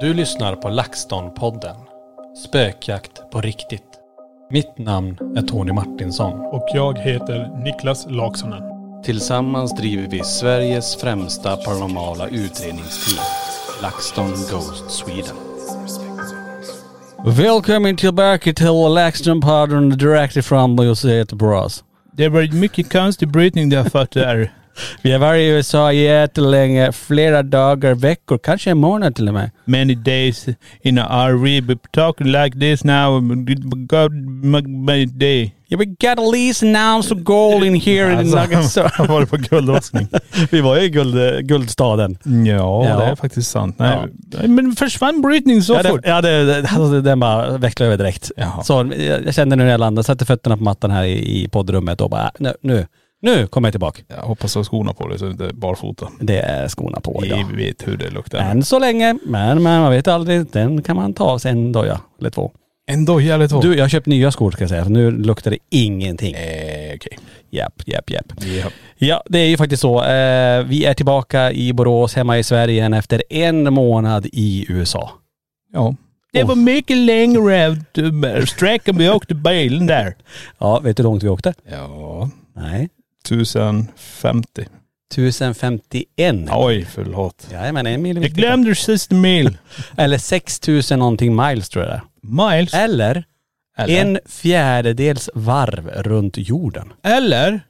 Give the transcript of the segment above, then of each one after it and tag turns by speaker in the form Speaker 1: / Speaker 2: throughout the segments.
Speaker 1: Du lyssnar på LaxTon-podden. Spökjakt på riktigt. Mitt namn är Tony Martinsson.
Speaker 2: Och jag heter Niklas Laksonen.
Speaker 1: Tillsammans driver vi Sveriges främsta paranormala utredningsteam. LaxTon Ghost Sweden.
Speaker 3: Välkommen tillbaka till LaxTon-podden direkt ifrån Los Göteborgs.
Speaker 2: Det var mycket konstig brytning du har fått där.
Speaker 3: Vi har varit i USA jättelänge, flera dagar, veckor, kanske en månad till och med.
Speaker 2: Many days in a RV, but talk like this now, God, my, my day.
Speaker 3: Yeah, we got at least an ounce of gold in here
Speaker 1: Alltså,
Speaker 3: in the nuggets. So.
Speaker 2: Vad var det på guldlossning?
Speaker 3: Vi var ju i guld, guldstaden.
Speaker 2: ja,
Speaker 3: Ja.
Speaker 2: det är faktiskt sant. Nej, Men försvann brytning så
Speaker 3: Ja, det,
Speaker 2: fort?
Speaker 3: ja det, det- alltså, den bara vecklade över direkt. Så jag jag kände nu när jag landade, satte fötterna på mattan här i, i poddrummet och bara, äh, nu, nu, nu kommer jag tillbaka.
Speaker 2: Jag hoppas du har skorna på dig så du inte är barfota.
Speaker 3: Det är skorna på
Speaker 2: Vi
Speaker 3: idag.
Speaker 2: vet hur det luktar.
Speaker 3: Än så länge, men, men man vet aldrig. Den kan man ta av sig en doja eller två.
Speaker 2: Ändå jävligt hårt.
Speaker 3: Du, jag har köpt nya skor ska jag säga, för nu luktar det ingenting.
Speaker 2: Eh, okej.
Speaker 3: Japp, japp, japp.
Speaker 2: Ja.
Speaker 3: Ja, det är ju faktiskt så. Eh, vi är tillbaka i Borås, hemma i Sverige igen, efter en månad i USA.
Speaker 2: ja. Det var mycket längre ut, eh, sträckan vi åkte bilen där.
Speaker 3: Ja, vet du hur långt vi åkte?
Speaker 2: Ja.
Speaker 3: Nej.
Speaker 2: 1050.
Speaker 3: 1051.
Speaker 2: Oj, förlåt.
Speaker 3: Jajamän, en mil.
Speaker 2: Jag glömde sista mil.
Speaker 3: Eller 6000 någonting miles tror jag det
Speaker 2: Miles.
Speaker 3: är. Eller,
Speaker 2: Eller?
Speaker 3: en fjärdedels varv runt jorden.
Speaker 2: Eller?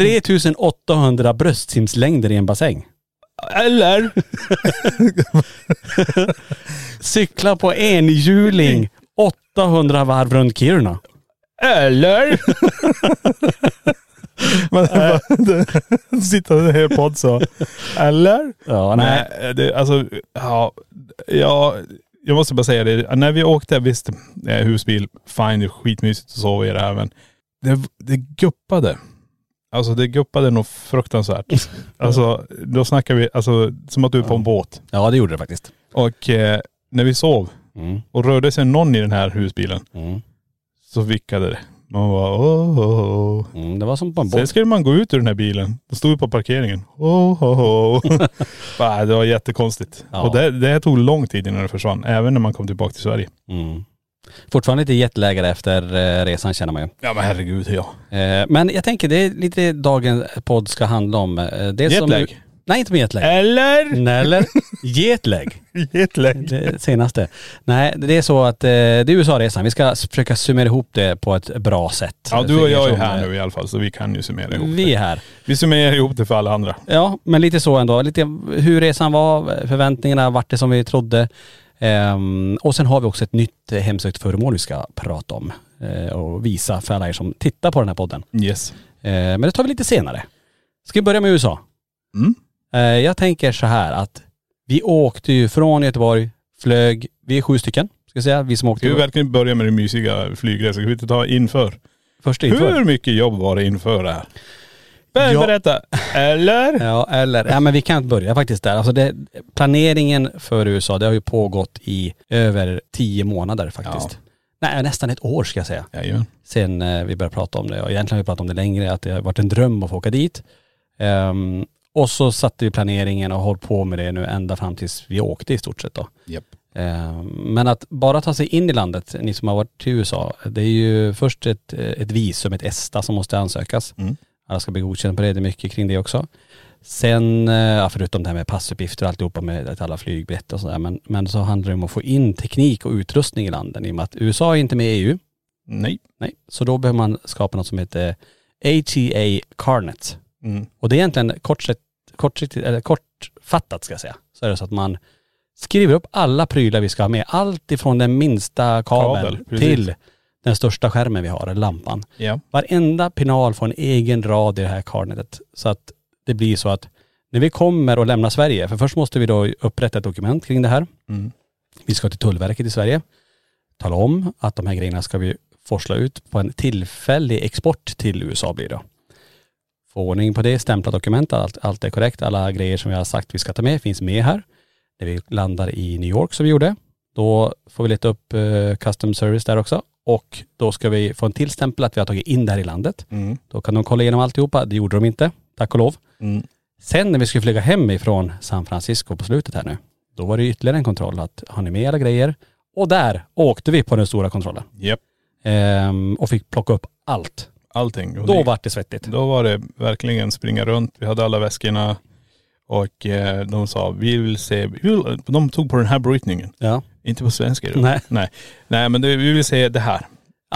Speaker 3: 3800 bröstsimslängder i en bassäng.
Speaker 2: Eller?
Speaker 3: Cykla på enhjuling 800 varv runt Kiruna.
Speaker 2: Eller? Men sitter en hel podd så. Eller?
Speaker 3: Ja, nej.
Speaker 2: Nej, det, alltså, ja, ja, jag måste bara säga det. När vi åkte, visst, eh, husbil, fine, det är skitmysigt att sova i det här, men det, det guppade. Alltså det guppade nog fruktansvärt. Alltså då snackar vi, alltså som att du är på en båt.
Speaker 3: Ja, det gjorde det faktiskt.
Speaker 2: Och eh, när vi sov
Speaker 3: Mm.
Speaker 2: och rörde sig någon i den här husbilen så vickade det. Man var åh, åh, åh.
Speaker 3: Mm, det var som på en
Speaker 2: Sen
Speaker 3: båt.
Speaker 2: skulle man gå ut ur den här bilen. Då stod vi på parkeringen. Oh, oh, oh. Bara, det var jättekonstigt.
Speaker 3: Ja.
Speaker 2: Och det, det här tog lång tid innan det försvann. Även när man kom tillbaka till Sverige.
Speaker 3: Mm. Fortfarande lite jetlaggad efter eh, resan känner man ju.
Speaker 2: Ja men herregud ja.
Speaker 3: Eh, men jag tänker det är lite det dagens podd ska handla om. Eh, dels Om,
Speaker 2: Jetlag?
Speaker 3: nej, inte om jetlag.
Speaker 2: Eller?
Speaker 3: Nej, eller? Jetlag.
Speaker 2: Jetlag.
Speaker 3: Det senaste. Nej, det är så att eh, det är USA-resan. Vi ska s- försöka summera ihop det på ett bra sätt.
Speaker 2: Ja du
Speaker 3: För
Speaker 2: och
Speaker 3: er
Speaker 2: jag är
Speaker 3: som,
Speaker 2: här
Speaker 3: eh,
Speaker 2: nu i alla fall så vi kan ju summera ihop
Speaker 3: Vi
Speaker 2: det.
Speaker 3: är här.
Speaker 2: Vi summerar ihop det för alla andra.
Speaker 3: Ja, men lite så ändå. Lite hur resan var, förväntningarna, vart det som vi trodde. Ehm, och sen har vi också ett nytt eh, hemsökt föremål vi ska prata om. eh, och visa för alla er som tittar på den här podden.
Speaker 2: Yes.
Speaker 3: Eh, men det tar vi lite senare. Ska vi börja med USA?
Speaker 2: Mm.
Speaker 3: Eh, jag tänker så här att vi åkte ju från Göteborg, flög, vi är sju stycken ska jag säga, vi som åkte
Speaker 2: Ska vi verkligen börja med den mysiga flygresan? Ska vi inte ta inför?
Speaker 3: första inför.
Speaker 2: Hur mycket jobb var det inför det här? Ben,
Speaker 3: Ja.
Speaker 2: berätta. Eller?
Speaker 3: Ja eller, ja men vi kan börja faktiskt där. Alltså det, planeringen för USA det har ju pågått i över tio månader faktiskt. Nej nästan ett år ska jag säga.
Speaker 2: Jajamän.
Speaker 3: sen eh, vi började prata om det. Och egentligen har vi pratat om det längre, att det har varit en dröm att få åka dit. Ehm, och så satte vi planeringen och har hållit på med det nu ända fram tills vi åkte i stort sett då.
Speaker 2: Japp.
Speaker 3: Ehm, men att bara ta sig in i landet, ni som har varit till USA, det är ju först ett, eh, ett visum, ett ESTA som måste ansökas.
Speaker 2: Mm.
Speaker 3: Alla ska bli godkända på det, det är mycket kring det också. Sen, eh, ja, förutom det här med passuppgifter och alltihopa med att alla flygbiljetter och sådär, men, men så handlar det om att få in teknik och utrustning i landen i och med att USA är inte med i E EU.
Speaker 2: Nej.
Speaker 3: Nej, så då behöver man skapa något som heter ATA Carnet.
Speaker 2: Mm.
Speaker 3: Och det är egentligen kortsiktigt, kortsiktigt, eller kortfattat ska jag säga, så är det så att man skriver upp alla prylar vi ska ha med. Allt ifrån den minsta kabeln
Speaker 2: Kabel, precis.
Speaker 3: till den största skärmen vi har, eller lampan.
Speaker 2: Ja.
Speaker 3: Varenda pinal får en egen rad i det här karnetet. Så att det blir så att när vi kommer och lämnar Sverige, för först måste vi då upprätta ett dokument kring det här.
Speaker 2: Mm.
Speaker 3: Vi ska till Tullverket i Sverige, tala om att de här grejerna ska vi forsla ut på en tillfällig export till USA blir det. då. Få ordning på det, stämpla dokument, allt, allt är korrekt, alla grejer som vi har sagt vi ska ta med finns med här. När vi landar i New York som vi gjorde, då får vi leta upp eh, custom service där också och då ska vi få en tillstämpel att vi har tagit in det här i landet.
Speaker 2: Mm.
Speaker 3: Då kan de kolla igenom alltihopa, det gjorde de inte, tack och lov.
Speaker 2: Mm.
Speaker 3: Sen när vi skulle flyga hem ifrån San Francisco på slutet här nu, då var det ytterligare en kontroll att har ni med era grejer? Och där åkte vi på den stora kontrollen
Speaker 2: Japp.
Speaker 3: ehm, och fick plocka upp allt.
Speaker 2: Allting. Och
Speaker 3: Då
Speaker 2: det-
Speaker 3: var det svettigt.
Speaker 2: Då var det verkligen springa runt. Vi hade alla väskorna och eh, de sa vi vill se, vi vill, de tog på den här brytningen.
Speaker 3: Ja.
Speaker 2: Inte på svenska då.
Speaker 3: Nej.
Speaker 2: Nej. Nej men det, vi vill se det här.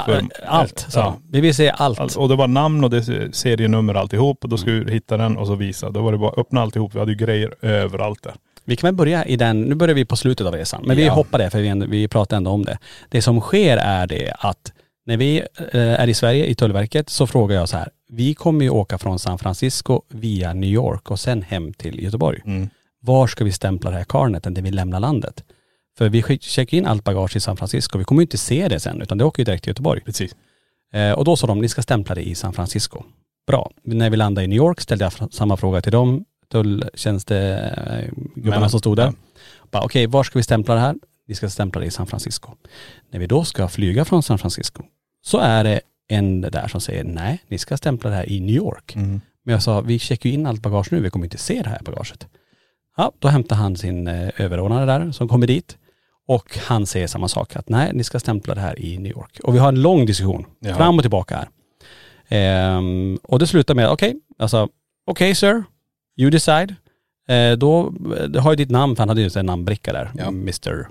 Speaker 2: För-
Speaker 3: Allt, sa
Speaker 2: Ja. Alltså.
Speaker 3: de. Vi vill se allt.
Speaker 2: Allt. Och det var namn och det serienummer alltihop och då skulle vi hitta den och så visa. Då var det bara att öppna alltihop. Vi hade ju grejer överallt där.
Speaker 3: Vi kan väl börja i den, nu börjar vi på slutet av resan, men vi
Speaker 2: Ja.
Speaker 3: hoppar det för vi, ändå- vi pratar ändå om det. Det som sker är det att när vi eh, är i Sverige, i Tullverket, så frågar jag så här, vi kommer ju åka från San Francisco via New York och sen hem till Göteborg.
Speaker 2: Mm.
Speaker 3: Var ska vi stämpla det här karnet när vi lämnar landet? För vi skick- checkar in allt bagage i San Francisco, vi kommer ju inte se det sen, utan det åker ju direkt till Göteborg.
Speaker 2: Precis.
Speaker 3: Eh, och då sa de, ni ska stämpla det i San Francisco. Bra. När vi landade i New York ställde jag fr- samma fråga till dem, tulltjänstegubbarna
Speaker 2: Men-
Speaker 3: som stod där.
Speaker 2: ja.
Speaker 3: Bara, Okej, var ska vi stämpla det här? Vi ska stämpla det i San Francisco. När vi då ska flyga från San Francisco så är det en där som säger, nej, ni ska stämpla det här i New York. Men jag sa, vi checkar ju in allt bagage nu, vi kommer inte se det här bagaget. Ja, då hämtar han sin eh, överordnade där som kommer dit och han säger samma sak, att nej, ni ska stämpla det här i New York. Och vi har en lång diskussion,
Speaker 2: Ja.
Speaker 3: fram och tillbaka här. Ehm, och det slutar med, okej, alltså, okej sir, you decide. Eh, då eh, det har ju ditt namn, för han hade ju en namnbricka där,
Speaker 2: Ja.
Speaker 3: Mr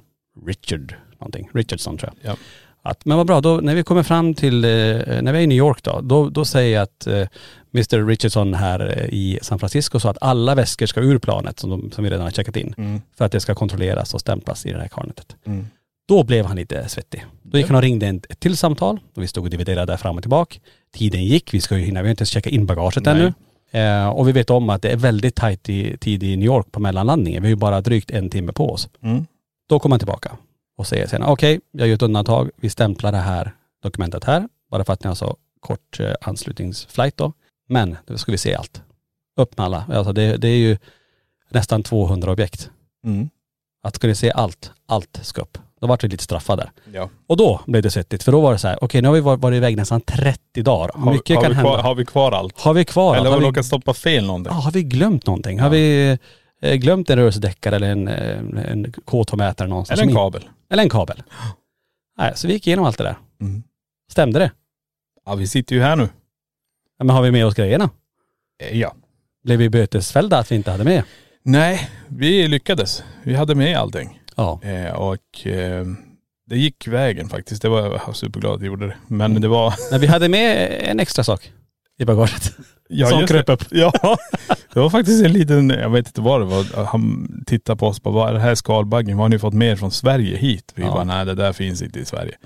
Speaker 3: Richard någonting, Richardson tror jag.
Speaker 2: Ja.
Speaker 3: Att, men vad bra, då, när vi kommer fram till, eh, när vi är i New York då, då, då säger jag att eh, Mr Richardson här eh, i San Francisco sa att alla väskor ska ur planet som, de, som vi redan har checkat in.
Speaker 2: Mm.
Speaker 3: För att det ska kontrolleras och stämplas i det här karnetet.
Speaker 2: Mm.
Speaker 3: Då blev han lite svettig. Då gick han och ringde en- ett till samtal och vi stod och dividerade där fram och tillbaka. Tiden gick, vi ska ju hinna, vi har inte ens checkat in bagaget
Speaker 2: Nej.
Speaker 3: ännu. Eh, och vi vet om att det är väldigt tajt i, tid i New York på mellanlandningen. Vi har ju bara drygt en timme på oss.
Speaker 2: Mm.
Speaker 3: Då kommer han tillbaka och säger sen, okej, jag gör ett undantag, vi stämplar det här dokumentet här, bara för att ni har så kort eh, anslutningsflight då. Men då ska vi se allt. Upp med alla. Alltså det, det är ju nästan 200 objekt.
Speaker 2: Mm.
Speaker 3: Att ska ni se allt, allt ska upp. Då vart vi lite straffade.
Speaker 2: Ja.
Speaker 3: Och då blev det svettigt, för då var det så här, okej nu har vi varit, varit iväg nästan 30 dagar.
Speaker 2: Har, vi-
Speaker 3: Mycket
Speaker 2: har
Speaker 3: kan
Speaker 2: vi
Speaker 3: hända.
Speaker 2: Kvar, har vi kvar allt?
Speaker 3: har vi kvar
Speaker 2: Eller
Speaker 3: allt?
Speaker 2: har vi
Speaker 3: Har vi
Speaker 2: råkat stoppa fel någonting?
Speaker 3: Ja, har vi glömt någonting? Har vi eh, glömt en rörelsedäckare eller en, eh, en K2-mätare någonstans?
Speaker 2: Eller en
Speaker 3: som in-
Speaker 2: kabel?
Speaker 3: Eller en kabel. Nej, så vi gick igenom allt det där.
Speaker 2: Mm.
Speaker 3: Stämde det?
Speaker 2: Ja vi sitter ju här nu.
Speaker 3: Ja, men har vi med oss grejerna?
Speaker 2: Eh, Ja.
Speaker 3: Blev vi bötesfällda att vi inte hade med?
Speaker 2: Nej, vi lyckades. Vi hade med allting.
Speaker 3: Ja.
Speaker 2: Eh, och eh, det gick vägen faktiskt. Det var jag var superglad att jag gjorde det. Men
Speaker 3: Mm.
Speaker 2: det var..
Speaker 3: Men vi hade med en extra sak i bagaget.
Speaker 2: Ja,
Speaker 3: Som
Speaker 2: just
Speaker 3: kröp
Speaker 2: det.
Speaker 3: upp.
Speaker 2: Ja. Det var faktiskt en liten, jag vet inte vad det var. Han tittade på oss och bara, vad är det här skalbaggen? Vad har ni fått med från Sverige hit? Vi
Speaker 3: Ja.
Speaker 2: bara, nej det där finns inte i Sverige.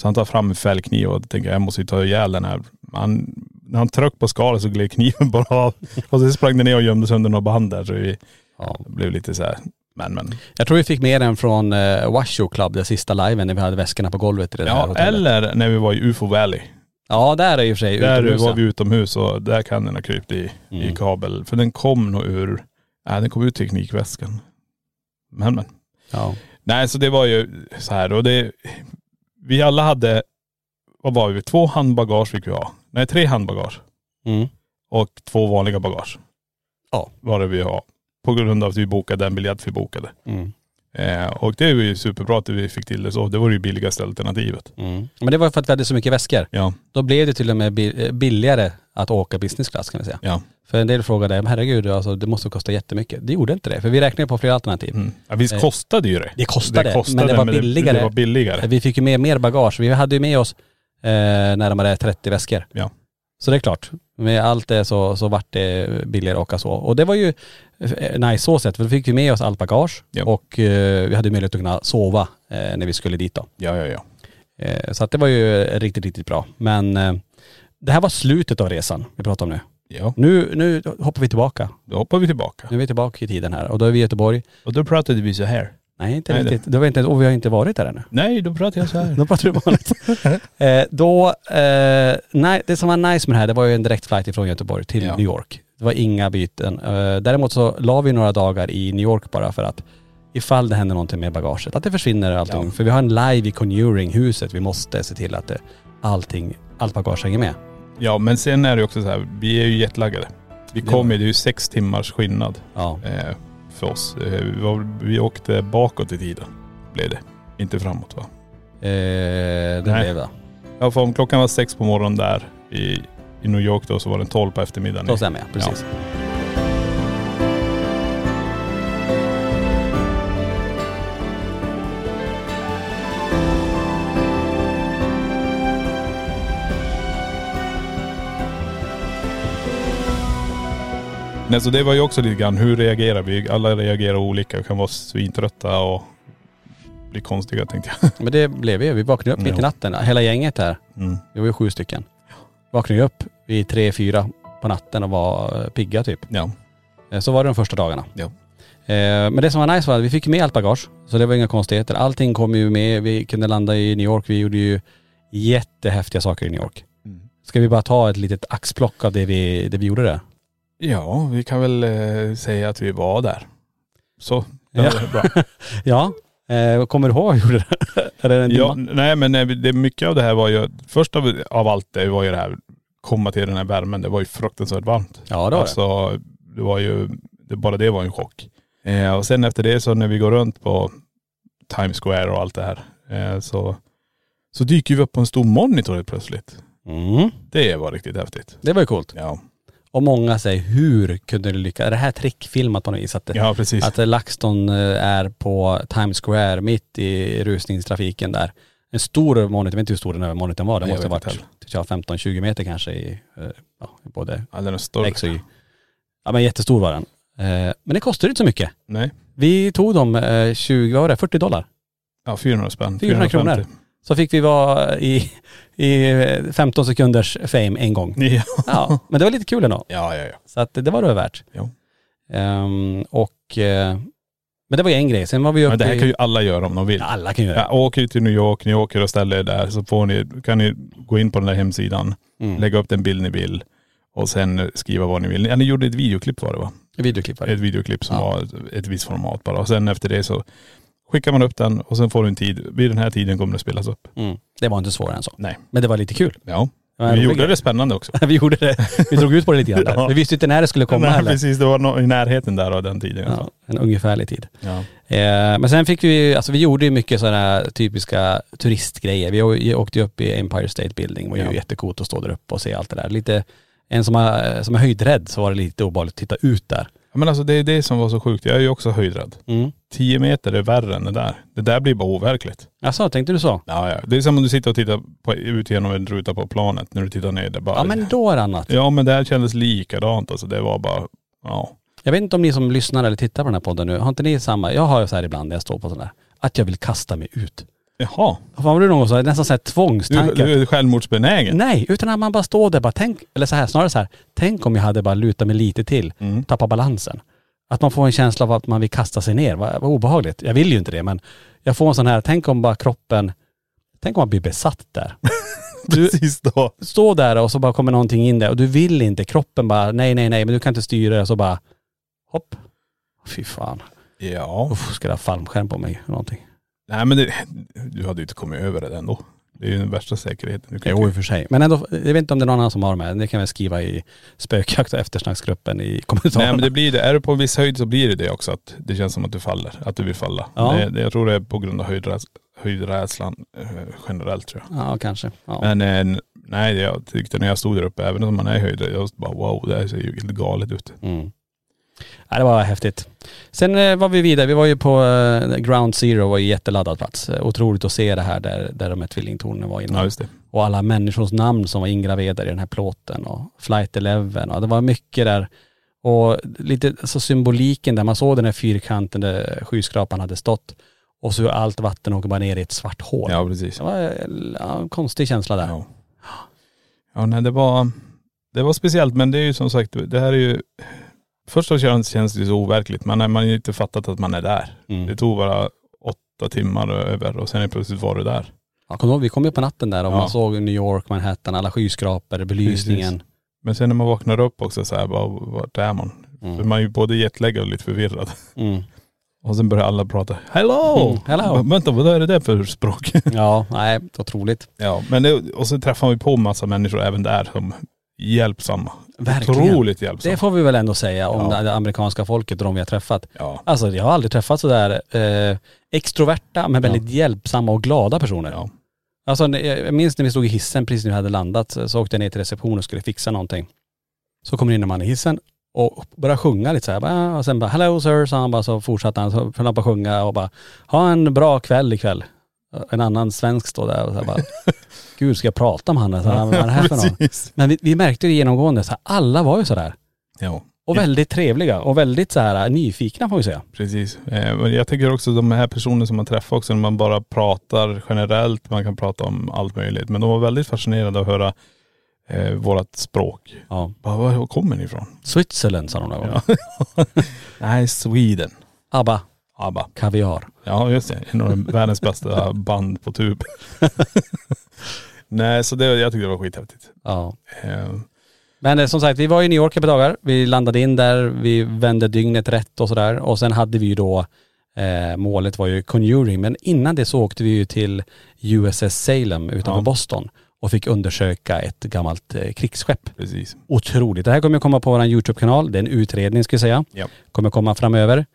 Speaker 2: Så han tar fram en fällkniv och tänker jag måste ju ta ihjäl den här. Han, när han tryckte på skalet så gled kniven bara av. Och så sprang den ner och gömde sig under några band där så vi
Speaker 3: Ja.
Speaker 2: blev lite så här, men men.
Speaker 3: Jag tror vi fick med den från eh, Washoe Club, den sista liven när vi hade väskorna på golvet i det här
Speaker 2: Ja,
Speaker 3: hotellet.
Speaker 2: eller när vi var i UFO Valley.
Speaker 3: Ja, där är ju för sig
Speaker 2: Där
Speaker 3: utomhus,
Speaker 2: var
Speaker 3: ja.
Speaker 2: vi utomhus och där kan den ha krypt i, i
Speaker 3: Mm.
Speaker 2: kabel. För den kom nog ur, nej den kom ur teknikväskan. Men men.
Speaker 3: Ja.
Speaker 2: Nej så det var ju så här och det, vi alla hade, vad var vi, två handbagage fick vi ha. Nej tre handbagage
Speaker 3: Mm.
Speaker 2: och två vanliga bagage.
Speaker 3: Ja.
Speaker 2: Var det vi ha. På grund av att vi bokade den biljett vi bokade.
Speaker 3: Mm.
Speaker 2: Eh, och det var ju superbra att vi fick till det så. Det var ju billigaste alternativet.
Speaker 3: Mm. Men det var ju för att vi hade så mycket väskor.
Speaker 2: Ja.
Speaker 3: Då blev det till och med bi- eh, billigare att åka business class kan vi säga.
Speaker 2: Ja.
Speaker 3: För en del frågade, "Men herregud alltså, det måste kosta jättemycket. Det gjorde inte det, för vi räknade på flera alternativ.
Speaker 2: Mm. ja visst
Speaker 3: Eh,
Speaker 2: kostade ju det.
Speaker 3: Det kostade,
Speaker 2: kostade,
Speaker 3: men det var billigare.
Speaker 2: Det var billigare.
Speaker 3: Eh, Vi fick ju med mer bagage. Vi hade ju med oss eh, närmare 30 väskor.
Speaker 2: Ja.
Speaker 3: Så det är klart, med allt det så, så vart det billigare att åka så. Och det var ju eh, nice så sett, för då fick vi med oss allt bagage
Speaker 2: Ja.
Speaker 3: och eh, vi hade möjlighet att kunna sova eh, när vi skulle dit då.
Speaker 2: Ja, ja, ja.
Speaker 3: Eh, så att det var ju riktigt, riktigt bra. Men eh, det här var slutet av resan vi pratar om nu.
Speaker 2: Ja,
Speaker 3: Nu, nu hoppar vi tillbaka.
Speaker 2: då hoppar vi tillbaka.
Speaker 3: Nu är vi tillbaka i tiden här och då är vi i Göteborg.
Speaker 2: Och då pratade vi så här.
Speaker 3: Nej inte
Speaker 2: Nej, det-
Speaker 3: riktigt. Det var inte, och vi har inte varit där ännu.
Speaker 2: Nej, då pratade jag så här.
Speaker 3: Då pratar du vanligt. eh, då, eh, nej, det som var nice med det här, det var ju en direkt flight ifrån Göteborg till
Speaker 2: Ja.
Speaker 3: New York. Det var inga byten. Eh, däremot så la vi några dagar i New York bara för att ifall det händer någonting med bagaget, att det försvinner allting. För vi har en live i Conjuring-huset. Vi måste se till att det, allting, allt bagage hänger med.
Speaker 2: ja, men sen är det ju också så här. Vi är ju jetlaggade. Vi
Speaker 3: Det
Speaker 2: kommer,
Speaker 3: var-
Speaker 2: det är ju sex timmars skillnad
Speaker 3: Ja.
Speaker 2: eh, för oss. Eh, vi, var, vi åkte bakåt i tiden, blev det. Inte framåt va?
Speaker 3: Eh, det
Speaker 2: Nej.
Speaker 3: blev det.
Speaker 2: Ja, för om klockan var sex på morgonen där i, i New York då så var den tolv på eftermiddagen.
Speaker 3: Så stämmer jag, precis.
Speaker 2: Nej, så det var ju också lite grann, hur reagerar vi? Alla reagerar olika. Vi kan vara svintrötta och bli konstiga tänkte jag.
Speaker 3: Men det blev vi. Vi vaknade upp mitt i
Speaker 2: Ja.
Speaker 3: natten, hela gänget här.
Speaker 2: Mm.
Speaker 3: Vi var ju sju stycken. Vaknade ju upp vid tre, fyra på natten och var eh, pigga typ.
Speaker 2: Ja.
Speaker 3: Eh, Så var det de första dagarna.
Speaker 2: Ja.
Speaker 3: Eh, Men det som var nice var att vi fick med allt bagage. Så det var inga konstigheter. Allting kom ju med. Vi kunde landa i New York. Vi gjorde ju jättehäftiga saker i New York.
Speaker 2: Mm.
Speaker 3: Ska vi bara ta ett litet axplock av det vi, det vi gjorde där?
Speaker 2: Ja, vi kan väl eh, säga att vi var där. Så.
Speaker 3: Ja.
Speaker 2: Ja. Bra.
Speaker 3: Ja. Eh, Kommer du ihåg vad vi gjorde där? Är det en
Speaker 2: ja,
Speaker 3: dimma?
Speaker 2: nej men eh, det, mycket av det här var ju, först av, av allt det var ju det här, komma till den här värmen, det var ju fruktansvärt varmt.
Speaker 3: ja, det var det.
Speaker 2: alltså, det. var ju, det, bara det var ju en chock. Eh, och sen efter det så när vi går runt på Times Square och allt det här, eh, så, så dyker vi upp på en stor monitor helt plötsligt.
Speaker 3: Mm.
Speaker 2: Det var riktigt häftigt.
Speaker 3: Det var ju coolt.
Speaker 2: Ja,
Speaker 3: Och många säger, hur kunde du lyckas? Är det här trickfilmat på något vis? Att det,
Speaker 2: ja precis.
Speaker 3: Att eh, LaxTon eh, är på Times Square mitt i rusningstrafiken där. En stor monitor, jag vet inte hur stor den här monitorn var, det
Speaker 2: Nej, jag
Speaker 3: måste ha
Speaker 2: vet
Speaker 3: varit typ
Speaker 2: inte
Speaker 3: 15-20 meter kanske i eh, ja, i både
Speaker 2: ja, den är stor.
Speaker 3: X och Y. Ja men jättestor var den. Eh, Men det kostade inte så mycket.
Speaker 2: Nej,
Speaker 3: Vi tog dem eh, 20, vad var det, 40 dollar.
Speaker 2: ja 400 spänn.
Speaker 3: 400 kronor.
Speaker 2: 450.
Speaker 3: Så fick vi vara i, i eh, 15 sekunders fame en gång.
Speaker 2: Ja,
Speaker 3: Ja, men det var lite kul ändå.
Speaker 2: ja, ja. ja.
Speaker 3: Så att det det var det värt.
Speaker 2: Jo.
Speaker 3: Ehm, och, eh, men det var ju en grej. Sen var vi uppe
Speaker 2: Men det här
Speaker 3: i-
Speaker 2: kan ju alla göra om de vill.
Speaker 3: Ja, alla kan göra det.
Speaker 2: Ja, åker till New York, ni åker och ställer er där så får ni, kan ni gå in på den där hemsidan,
Speaker 3: Mm.
Speaker 2: lägga upp den bild ni vill och sen skriva vad ni vill. Ja, ni gjorde ett videoklipp var det va?
Speaker 3: Videoklippare.
Speaker 2: Ett videoklipp som
Speaker 3: Ja.
Speaker 2: var ett- ett visst format bara. Och sen efter det så skickar man upp den och sen får du en tid. Vid den här tiden kommer det spelas upp.
Speaker 3: Mm. Det var inte svårare än så.
Speaker 2: Nej.
Speaker 3: Men det var lite kul.
Speaker 2: Ja.
Speaker 3: Det var en
Speaker 2: Vi
Speaker 3: rolig
Speaker 2: gjorde
Speaker 3: grej.
Speaker 2: det spännande också.
Speaker 3: vi gjorde det. Vi drog ut på det lite grann där.
Speaker 2: Ja.
Speaker 3: Vi visste inte när det skulle komma
Speaker 2: Nej,
Speaker 3: heller.
Speaker 2: precis, det var nå- i närheten där av den tiden.
Speaker 3: Ja,
Speaker 2: Ja.
Speaker 3: en ungefärlig tid.
Speaker 2: Ja.
Speaker 3: Eh, men sen fick vi, alltså vi gjorde ju mycket sådana typiska turistgrejer. Vi å- vi åkte ju upp i Empire State Building, det var ju
Speaker 2: Ja.
Speaker 3: jättecoolt att stå där uppe och se allt det där. Lite, en som är, som är höjdrädd så var det lite obehagligt att titta ut där.
Speaker 2: Men alltså det är det som var så sjukt. Jag är ju också höjdrädd.
Speaker 3: Mm.
Speaker 2: 10 meter är värre än det där. Det där blir bara overkligt.
Speaker 3: Alltså, tänkte du så?
Speaker 2: Ja, ja. Det är som om du sitter och tittar på, ut genom en ruta på planet när du tittar ner. Det bara,
Speaker 3: Ja men då är det annat.
Speaker 2: ja men det här kändes likadant alltså. Det var bara, ja.
Speaker 3: Jag vet inte om ni som lyssnar eller tittar på den här podden nu, har inte ni samma, jag har ju så här ibland när jag står på sådana här, att jag vill kasta mig ut.
Speaker 2: Jaha.
Speaker 3: Vad fan var du någon gång så här, nästan såhär
Speaker 2: Du,
Speaker 3: tvångstankar.
Speaker 2: du är självmordsbenägen.
Speaker 3: Nej, utan att man bara står där bara tänk, eller så här, snarare så här, tänk om jag hade bara lutat mig lite till,
Speaker 2: Mm.
Speaker 3: tappa balansen. Att man får en känsla av att man vill kasta sig ner, vad, vad obehagligt. Jag vill ju inte det men jag får en sån här, tänk om bara kroppen, tänk om man blir besatt där.
Speaker 2: Precis då.
Speaker 3: Stå där och så bara kommer någonting in där och du vill inte, kroppen bara nej nej nej men du kan inte styra det och så bara hopp. Fy fan.
Speaker 2: Ja.
Speaker 3: Uff, ska jag ha fallskärm på mig eller någonting?
Speaker 2: Nej men det, du hade ju inte kommit över det ändå. Det är ju den värsta säkerheten. Du kan
Speaker 3: Jo i och
Speaker 2: inte,
Speaker 3: för sig. Men ändå, jag vet inte om det är någon annan som har de här. Ni kan väl skriva i spökjakt och eftersnacksgruppen i kommentarerna.
Speaker 2: nej men det blir ju det. Är du på en viss höjd så blir det det också. Att det känns som att du faller. Att du vill falla.
Speaker 3: Ja.
Speaker 2: Det, det, jag tror det är på grund av höjdräs, höjdrädslan eh, generellt tror jag.
Speaker 3: Ja kanske. Ja.
Speaker 2: Men eh, nej, det- jag tyckte när jag stod där uppe, även om man är höjd, jag just bara wow, det här ser ju helt galet ut.
Speaker 3: Mm. Ja, det var häftigt. Sen eh, var vi vidare, vi var ju på eh, Ground Zero, var ju jätteladdad plats. Eh, Otroligt att se det här där, där de här tvillingtornen var innan.
Speaker 2: Ja just det.
Speaker 3: Och alla människors namn som var ingraverade i den här plåten och Flight 11 och det var mycket där. Och lite så symboliken där man såg den här fyrkanten där skyskrapan hade stått och så allt vatten åker bara ner i ett svart hål.
Speaker 2: Ja precis.
Speaker 3: Det var eh, ja, en konstig känsla där.
Speaker 2: Ja. Ja nej det var, det var speciellt men det är ju som sagt, det här är ju, först så känns, känns det ju så overkligt, men man har ju inte fattat att man är där.
Speaker 3: Mm.
Speaker 2: Det tog bara åtta timmar över och sen är plötsligt var du där.
Speaker 3: Ja, kom ihåg, vi kom ju på natten där och
Speaker 2: Ja.
Speaker 3: man såg New York, Manhattan, alla skyskrapor, belysningen.
Speaker 2: Men sen när man vaknar upp också så här, bara, vart är man? För man är ju både jetlaggad och lite förvirrad.
Speaker 3: Mm.
Speaker 2: Och sen börjar alla prata, hello!
Speaker 3: Mm, hello.
Speaker 2: Men Vänta, vad är det där för språk?
Speaker 3: Ja, nej, otroligt.
Speaker 2: Ja, men det, och så träffar vi på massa människor även där som är hjälpsamma.
Speaker 3: Verkligen.
Speaker 2: Otroligt
Speaker 3: Det
Speaker 2: hjälpsamma.
Speaker 3: får vi väl ändå säga om
Speaker 2: Ja.
Speaker 3: det amerikanska folket och de vi har träffat.
Speaker 2: Ja.
Speaker 3: Alltså jag har aldrig träffat sådär eh, extroverta men väldigt hjälpsamma och glada personer.
Speaker 2: Ja.
Speaker 3: Alltså när- jag minns när vi stod i hissen precis när vi hade landat så så åkte jag ner till receptionen och skulle fixa någonting. Så kommer in en man i hissen och börjar sjunga lite så här. bara, Och sen bara hello sir, så han bara så fortsatte han, så höll han på att sjunga och bara ha en bra kväll ikväll. En annan svensk står där och så här bara, gud ska jag prata med han? Så här, Vad är det här för någon?
Speaker 2: Precis.
Speaker 3: Men vi, vi märkte ju genomgående så här, alla var ju sådär.
Speaker 2: Ja,
Speaker 3: Och väldigt trevliga och väldigt så här nyfikna får vi säga.
Speaker 2: precis. Eh, men jag tycker också de här personerna som man träffar också, när man bara pratar generellt, man kan prata om allt möjligt. Men de var väldigt fascinerade att höra eh, vårat språk.
Speaker 3: Ja.
Speaker 2: Bara, var, var kommer ni ifrån?
Speaker 3: Switzerland sa de några gånger.
Speaker 2: Nej, Sweden.
Speaker 3: ABBA,
Speaker 2: ABBA.
Speaker 3: kaviar.
Speaker 2: Ja just det, en av de världens bästa band på tub. Nej, så det, jag tyckte det var skithäftigt.
Speaker 3: Ja.
Speaker 2: Eh,
Speaker 3: Men eh, som sagt, vi var i New York ett par dagar. Vi landade in där, vi vände dygnet rätt och sådär. Och sen hade vi ju då, eh, målet var ju Conjuring. Men innan det så åkte vi ju till USS Salem utanför
Speaker 2: Ja.
Speaker 3: Boston och fick undersöka ett gammalt eh, krigsskepp.
Speaker 2: precis.
Speaker 3: Otroligt. Det här kommer komma på vår YouTube-kanal. Det är en utredning ska jag säga.
Speaker 2: Ja.
Speaker 3: Kommer komma framöver.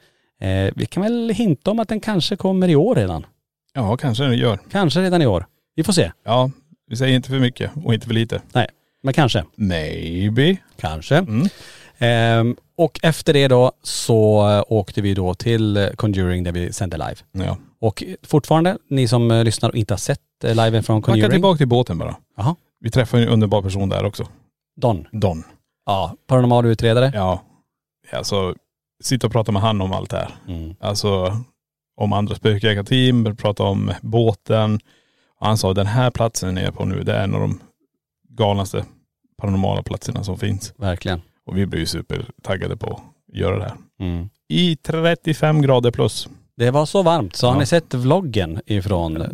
Speaker 3: Eh, vi kan väl hinta om att den kanske kommer i år redan.
Speaker 2: Ja, kanske det gör.
Speaker 3: Kanske redan i år. Vi får se.
Speaker 2: Ja, vi säger inte för mycket och inte för lite.
Speaker 3: Men kanske.
Speaker 2: Maybe.
Speaker 3: Kanske.
Speaker 2: Mm.
Speaker 3: Ehm, och efter det då så eh, åkte vi då till eh, Conjuring där vi sände live.
Speaker 2: Ja.
Speaker 3: Och fortfarande, ni som eh, lyssnar och inte har sett eh, liven från
Speaker 2: Backa
Speaker 3: Conjuring.
Speaker 2: tillbaka till båten bara.
Speaker 3: Jaha.
Speaker 2: Vi träffade en underbar person där också.
Speaker 3: Don.
Speaker 2: Don.
Speaker 3: Ja, paranormal utredare.
Speaker 2: Ja. Alltså, sitta och prata med han om allt det här.
Speaker 3: Mm.
Speaker 2: Alltså, om andra spökjägarteam, prata om båten. Och han sa, den här platsen ni är på nu, det är en av de galnaste paranormala platserna som finns.
Speaker 3: Verkligen.
Speaker 2: Och vi blev ju supertaggade på att göra det här.
Speaker 3: Mm.
Speaker 2: I 35 grader plus.
Speaker 3: Det var så varmt, så har
Speaker 2: Ja.
Speaker 3: ni sett vloggen ifrån eh,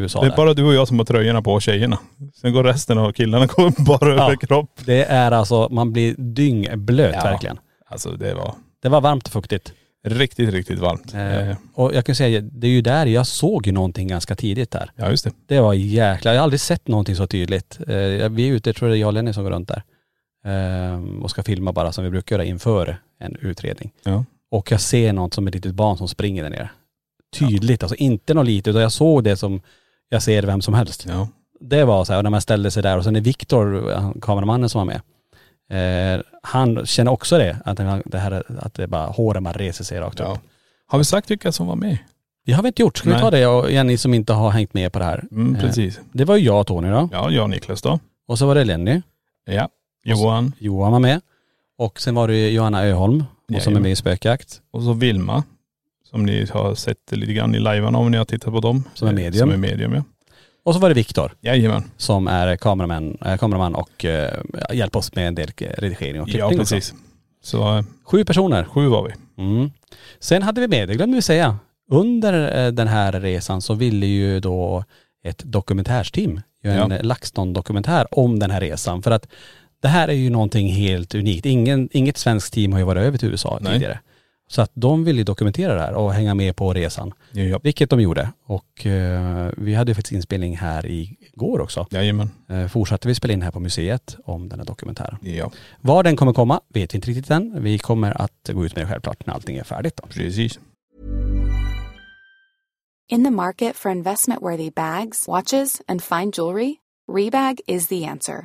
Speaker 3: USA?
Speaker 2: Det
Speaker 3: där?
Speaker 2: är bara du och jag som har tröjorna på och tjejerna. Sen går resten av killarna går bara
Speaker 3: Ja.
Speaker 2: över kropp.
Speaker 3: Det är alltså, man blir dyngblöt
Speaker 2: Ja.
Speaker 3: verkligen.
Speaker 2: Alltså det var
Speaker 3: Det var varmt och fuktigt.
Speaker 2: riktigt, riktigt varmt.
Speaker 3: Eh,
Speaker 2: Eh,
Speaker 3: och jag kan säga, det är ju där jag såg ju någonting ganska tidigt där.
Speaker 2: Ja just det.
Speaker 3: Det var jäkla, jag har aldrig sett någonting så tydligt. Eh, vi är ute, jag tror det är jag och Lenny som går runt där. Eh, och ska filma bara som vi brukar göra inför en utredning.
Speaker 2: Ja.
Speaker 3: Och jag ser något som ett litet barn som springer där nere. Tydligt, alltså inte något litet, utan jag såg det som jag ser vem som helst.
Speaker 2: Ja.
Speaker 3: det var så här, och när man ställde sig där och sen är Viktor, han- kameramannen som var med, eh, han känner också det, att han- det, här, att det är bara håren man reser sig rakt upp.
Speaker 2: ja. Har vi sagt vilka som var med?
Speaker 3: Det har vi inte gjort, ska vi
Speaker 2: Nej.
Speaker 3: ta det och igen ni som inte har hängt med på det här.
Speaker 2: Mm,
Speaker 3: Eh,
Speaker 2: precis.
Speaker 3: Det var ju jag och Tony då,
Speaker 2: Ja, jag och Niklas då.
Speaker 3: och så var det Lenny,
Speaker 2: Ja. Johan.
Speaker 3: Johan var med, och sen var det ju Johanna Öholm, hon som är
Speaker 2: Jajamän.
Speaker 3: med i Spökjakt.
Speaker 2: Och så Vilma. Som ni har sett lite grann i livearna om ni har tittat på dem.
Speaker 3: Som är medium.
Speaker 2: Som är medium ja.
Speaker 3: Och så var det Viktor
Speaker 2: Jajamän.
Speaker 3: som är kameraman, eh, kameraman och eh, hjälper oss med en del eh, redigering och
Speaker 2: Ja
Speaker 3: klippning. också.
Speaker 2: precis. Så eh,
Speaker 3: Sju personer.
Speaker 2: sju var vi.
Speaker 3: Mm. Sen hade vi med, det glömde vi säga, under eh, den här resan så ville ju då ett dokumentärsteam göra en
Speaker 2: Ja.
Speaker 3: eh, LaxTon-dokumentär om den här resan. För att det här är ju någonting helt unikt. Ingen, inget svenskt team har ju varit över till USA
Speaker 2: Nej.
Speaker 3: tidigare. Så att de ville ju dokumentera det här och hänga med på resan.
Speaker 2: Ja.
Speaker 3: Vilket de gjorde. Och eh, vi hade ju faktiskt inspelning här igår också.
Speaker 2: Jajamän.
Speaker 3: Eh, fortsatte vi spela in här på museet om den här dokumentären.
Speaker 2: Ja.
Speaker 3: Var den kommer komma vet vi inte riktigt än. Vi kommer att gå ut med det självklart när allting är färdigt. Då.
Speaker 2: Precis.
Speaker 4: In the market for investment-worthy bags, watches, and fine jewelry, Rebag is the answer.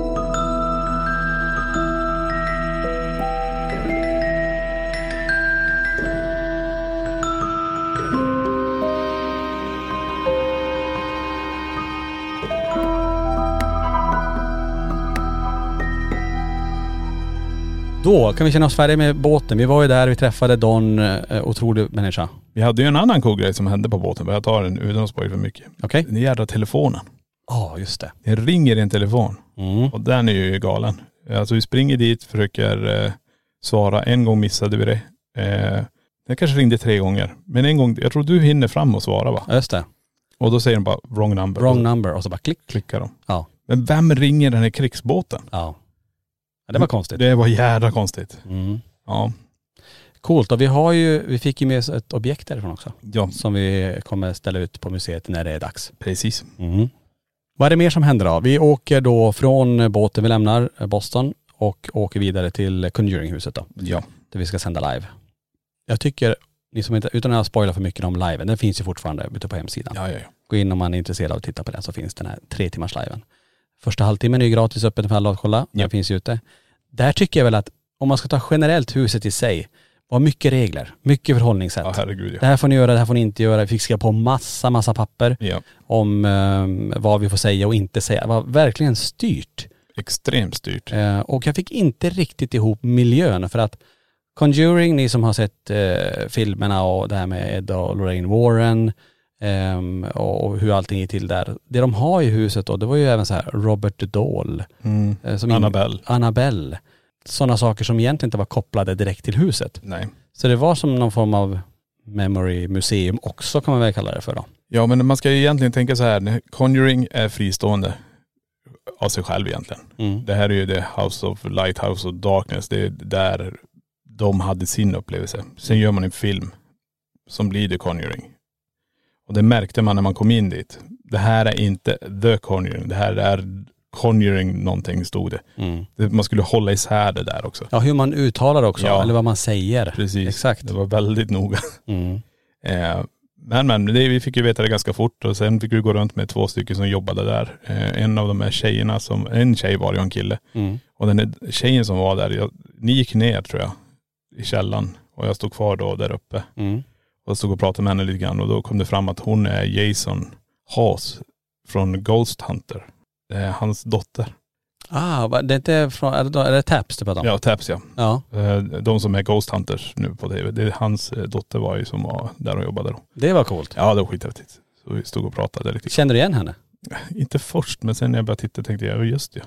Speaker 3: Då kan vi känna oss färdiga med båten. Vi var ju där, vi träffade Don, eh, otrolig människa.
Speaker 2: Vi hade ju en annan cool grej som hände på båten. men Jag tar den utan att spoila för mycket.
Speaker 3: Okej?
Speaker 2: Den jävla telefonen.
Speaker 3: Ja, just det.
Speaker 2: Det ringer i en telefon.
Speaker 3: Mm.
Speaker 2: Och den är ju galen. Alltså vi springer dit, försöker eh, svara. En gång missade vi det. Eh, den kanske ringde tre gånger. Men en gång, jag tror du hinner fram och svara va?
Speaker 3: Ja, just det.
Speaker 2: Och då säger de bara wrong number.
Speaker 3: Wrong
Speaker 2: Och
Speaker 3: number och så bara klick.
Speaker 2: så klickar de.
Speaker 3: Ja.
Speaker 2: Men vem ringer den här krigsbåten?
Speaker 3: Ja. ja det var konstigt.
Speaker 2: Det var jävla konstigt.
Speaker 3: Mm.
Speaker 2: Ja.
Speaker 3: Coolt. Och vi har ju, vi fick ju med oss ett objekt därifrån också.
Speaker 2: Ja,
Speaker 3: Som vi kommer ställa ut på museet när det är dags.
Speaker 2: precis.
Speaker 3: Mm. Vad är det mer som händer då? Vi åker då från båten, vi lämnar eh, Boston och åker vidare till Conjuringhuset då,
Speaker 2: Ja.
Speaker 3: där vi ska sända live. Jag tycker, ni som inte, utan att spoila för mycket om liven, den finns ju fortfarande ute på hemsidan.
Speaker 2: Ja, ja, ja.
Speaker 3: Gå in om man är intresserad av att titta på den så finns den här tre timmars liven. Första halvtimmen är ju gratis öppen för alla att kolla, den
Speaker 2: Ja.
Speaker 3: finns ju ute. Där tycker jag väl att om man ska ta generellt huset i sig, var mycket regler, mycket förhållningssätt.
Speaker 2: Ja, herregud
Speaker 3: det
Speaker 2: ja.
Speaker 3: här får ni göra, det här får ni inte göra. Vi fick skriva på massa, massa papper
Speaker 2: Ja.
Speaker 3: om eh, vad vi får säga och inte säga. Det var verkligen styrt.
Speaker 2: Extremt styrt.
Speaker 3: Eh, och jag fick inte riktigt ihop miljön för att Conjuring, ni som har sett eh, filmerna och det här med Ed och Lorraine Warren ehm, och, och hur allting gick till där. Det de har i huset då, det var ju även så här Robert Dahl.
Speaker 2: Mm.
Speaker 3: eh, som in-
Speaker 2: Annabelle.
Speaker 3: Annabelle. Sådana saker som egentligen inte var kopplade direkt till huset.
Speaker 2: Nej.
Speaker 3: Så det var som någon form av memory museum också kan man väl kalla det för då.
Speaker 2: Ja men man ska ju egentligen tänka så här, Conjuring är fristående av sig själv egentligen.
Speaker 3: Mm.
Speaker 2: Det här är ju det House of Light, House of Darkness, det är där de hade sin upplevelse. Sen gör man en film som blir The Conjuring. Och det märkte man när man kom in dit. Det här är inte The Conjuring, det här är Conjuring någonting stod det.
Speaker 3: Mm.
Speaker 2: Det- Man skulle hålla isär det där också.
Speaker 3: Ja, hur man uttalar också,
Speaker 2: Ja.
Speaker 3: eller vad man säger.
Speaker 2: Precis,
Speaker 3: Exakt.
Speaker 2: det var väldigt noga.
Speaker 3: Mm.
Speaker 2: Eh, men men, det, vi fick ju veta det ganska fort och sen fick vi gå runt med två stycken som jobbade där. Eh, en av de här tjejerna som, en tjej var ju och en kille.
Speaker 3: Mm.
Speaker 2: Och den här tjejen som var där, jag, ni gick ner tror jag, i källan Och jag stod kvar då där uppe.
Speaker 3: Mm.
Speaker 2: Och stod och pratade med henne lite grann och då kom det fram att hon är Jason Haas från Ghost Hunter. Det är hans dotter.
Speaker 3: Ah, va- det är inte från, är det, är det Taps du pratar om?
Speaker 2: Ja, Taps ja.
Speaker 3: ja.
Speaker 2: Eh, De som är Ghost Hunters nu på tv. Det är hans eh, dotter var ju som var där och jobbade då.
Speaker 3: Det var coolt.
Speaker 2: Ja, det var skithäftigt. Så vi stod och pratade lite
Speaker 3: Känner du igen henne?
Speaker 2: inte först, men sen när jag började titta tänkte jag, "Ja, just det,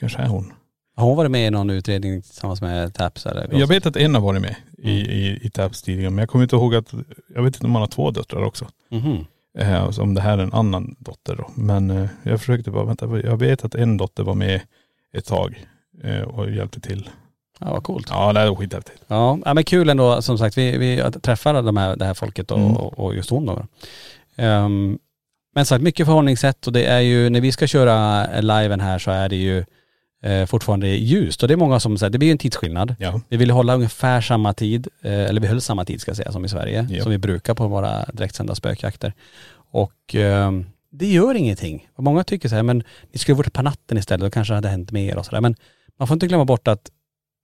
Speaker 2: kanske är hon.
Speaker 3: Har hon varit med i någon utredning tillsammans med Taps eller?
Speaker 2: Jag vet att en har varit med i, i, i Tabs tidigare, men jag kommer inte ihåg att, jag vet inte om han har två döttrar också.
Speaker 3: Mhm.
Speaker 2: Eh, och så om det här är en annan dotter då. Men eh, jag försökte bara, vänta, jag vet att en dotter var med ett tag eh, och hjälpte till.
Speaker 3: Ja, vad coolt.
Speaker 2: Ja det är skithäftigt.
Speaker 3: Ja, ja men kul ändå som sagt. Vi, vi träffar de här, det här folket och,
Speaker 2: Mm.
Speaker 3: och just hon då. Ehm, men sagt, mycket förhållningssätt och det är ju, när vi ska köra liven här så är det ju eh, fortfarande ljust och det är många som säger, det blir ju en tidsskillnad.
Speaker 2: Ja.
Speaker 3: Vi ville hålla ungefär samma tid, eh, eller vi höll samma tid ska jag säga som i Sverige,
Speaker 2: Ja.
Speaker 3: som vi brukar på våra direktsända spökjakter. Och ehm, det gör ingenting. Och många tycker så här, men ni skulle varit på natten istället, då kanske det hade hänt mer och sådär. Men man får inte glömma bort att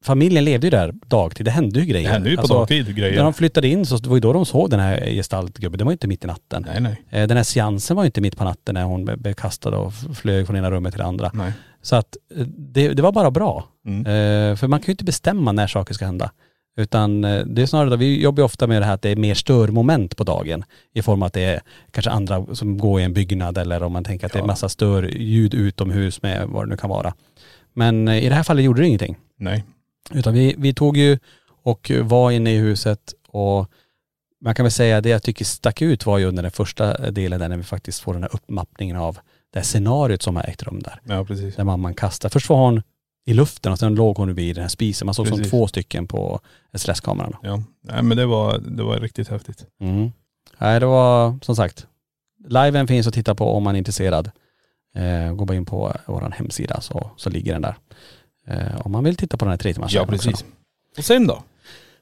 Speaker 3: familjen levde ju där dagtid, det hände ju grejer.
Speaker 2: Det händer ju på
Speaker 3: Alltså,
Speaker 2: dagtid
Speaker 3: När
Speaker 2: grejer.
Speaker 3: de flyttade in så det var ju då de såg den här gestaltgubben, det var ju inte mitt i natten.
Speaker 2: Nej nej.
Speaker 3: Eh, Den här seansen var ju inte mitt på natten när hon blev- blev kastad och f- flög från ena rummet till det andra.
Speaker 2: nej.
Speaker 3: Så att eh, det, det var bara bra.
Speaker 2: Mm.
Speaker 3: Eh, för man kan ju inte bestämma när saker ska hända. Utan eh, det är snarare, vi jobbar ju ofta med det här att det är mer störmoment på dagen. I form av att det är kanske andra som går i en byggnad eller om man tänker att det är
Speaker 2: Ja.
Speaker 3: massa störljud utomhus med vad det nu kan vara. Men eh, i det här fallet gjorde det ingenting.
Speaker 2: Nej.
Speaker 3: Utan vi, vi tog ju och var inne i huset och man kan väl säga det jag tycker stack ut var ju under den första delen där när vi faktiskt får den här uppmappningen av det här scenariot som har ägt rum där
Speaker 2: Ja precis.
Speaker 3: där mamman kastar. Först var hon i luften och sen låg hon vid den här spisen. Man såg som
Speaker 2: Precis.
Speaker 3: två stycken på SLS-kameran.
Speaker 2: Ja. Nej men det var, det var riktigt häftigt.
Speaker 3: Mm. Nej det var som sagt, liven finns att titta på om man är intresserad. Eh, gå bara in på vår hemsida så, så ligger den där. Eh, om man vill titta på den här tre timmars
Speaker 2: Ja precis. Och sen då?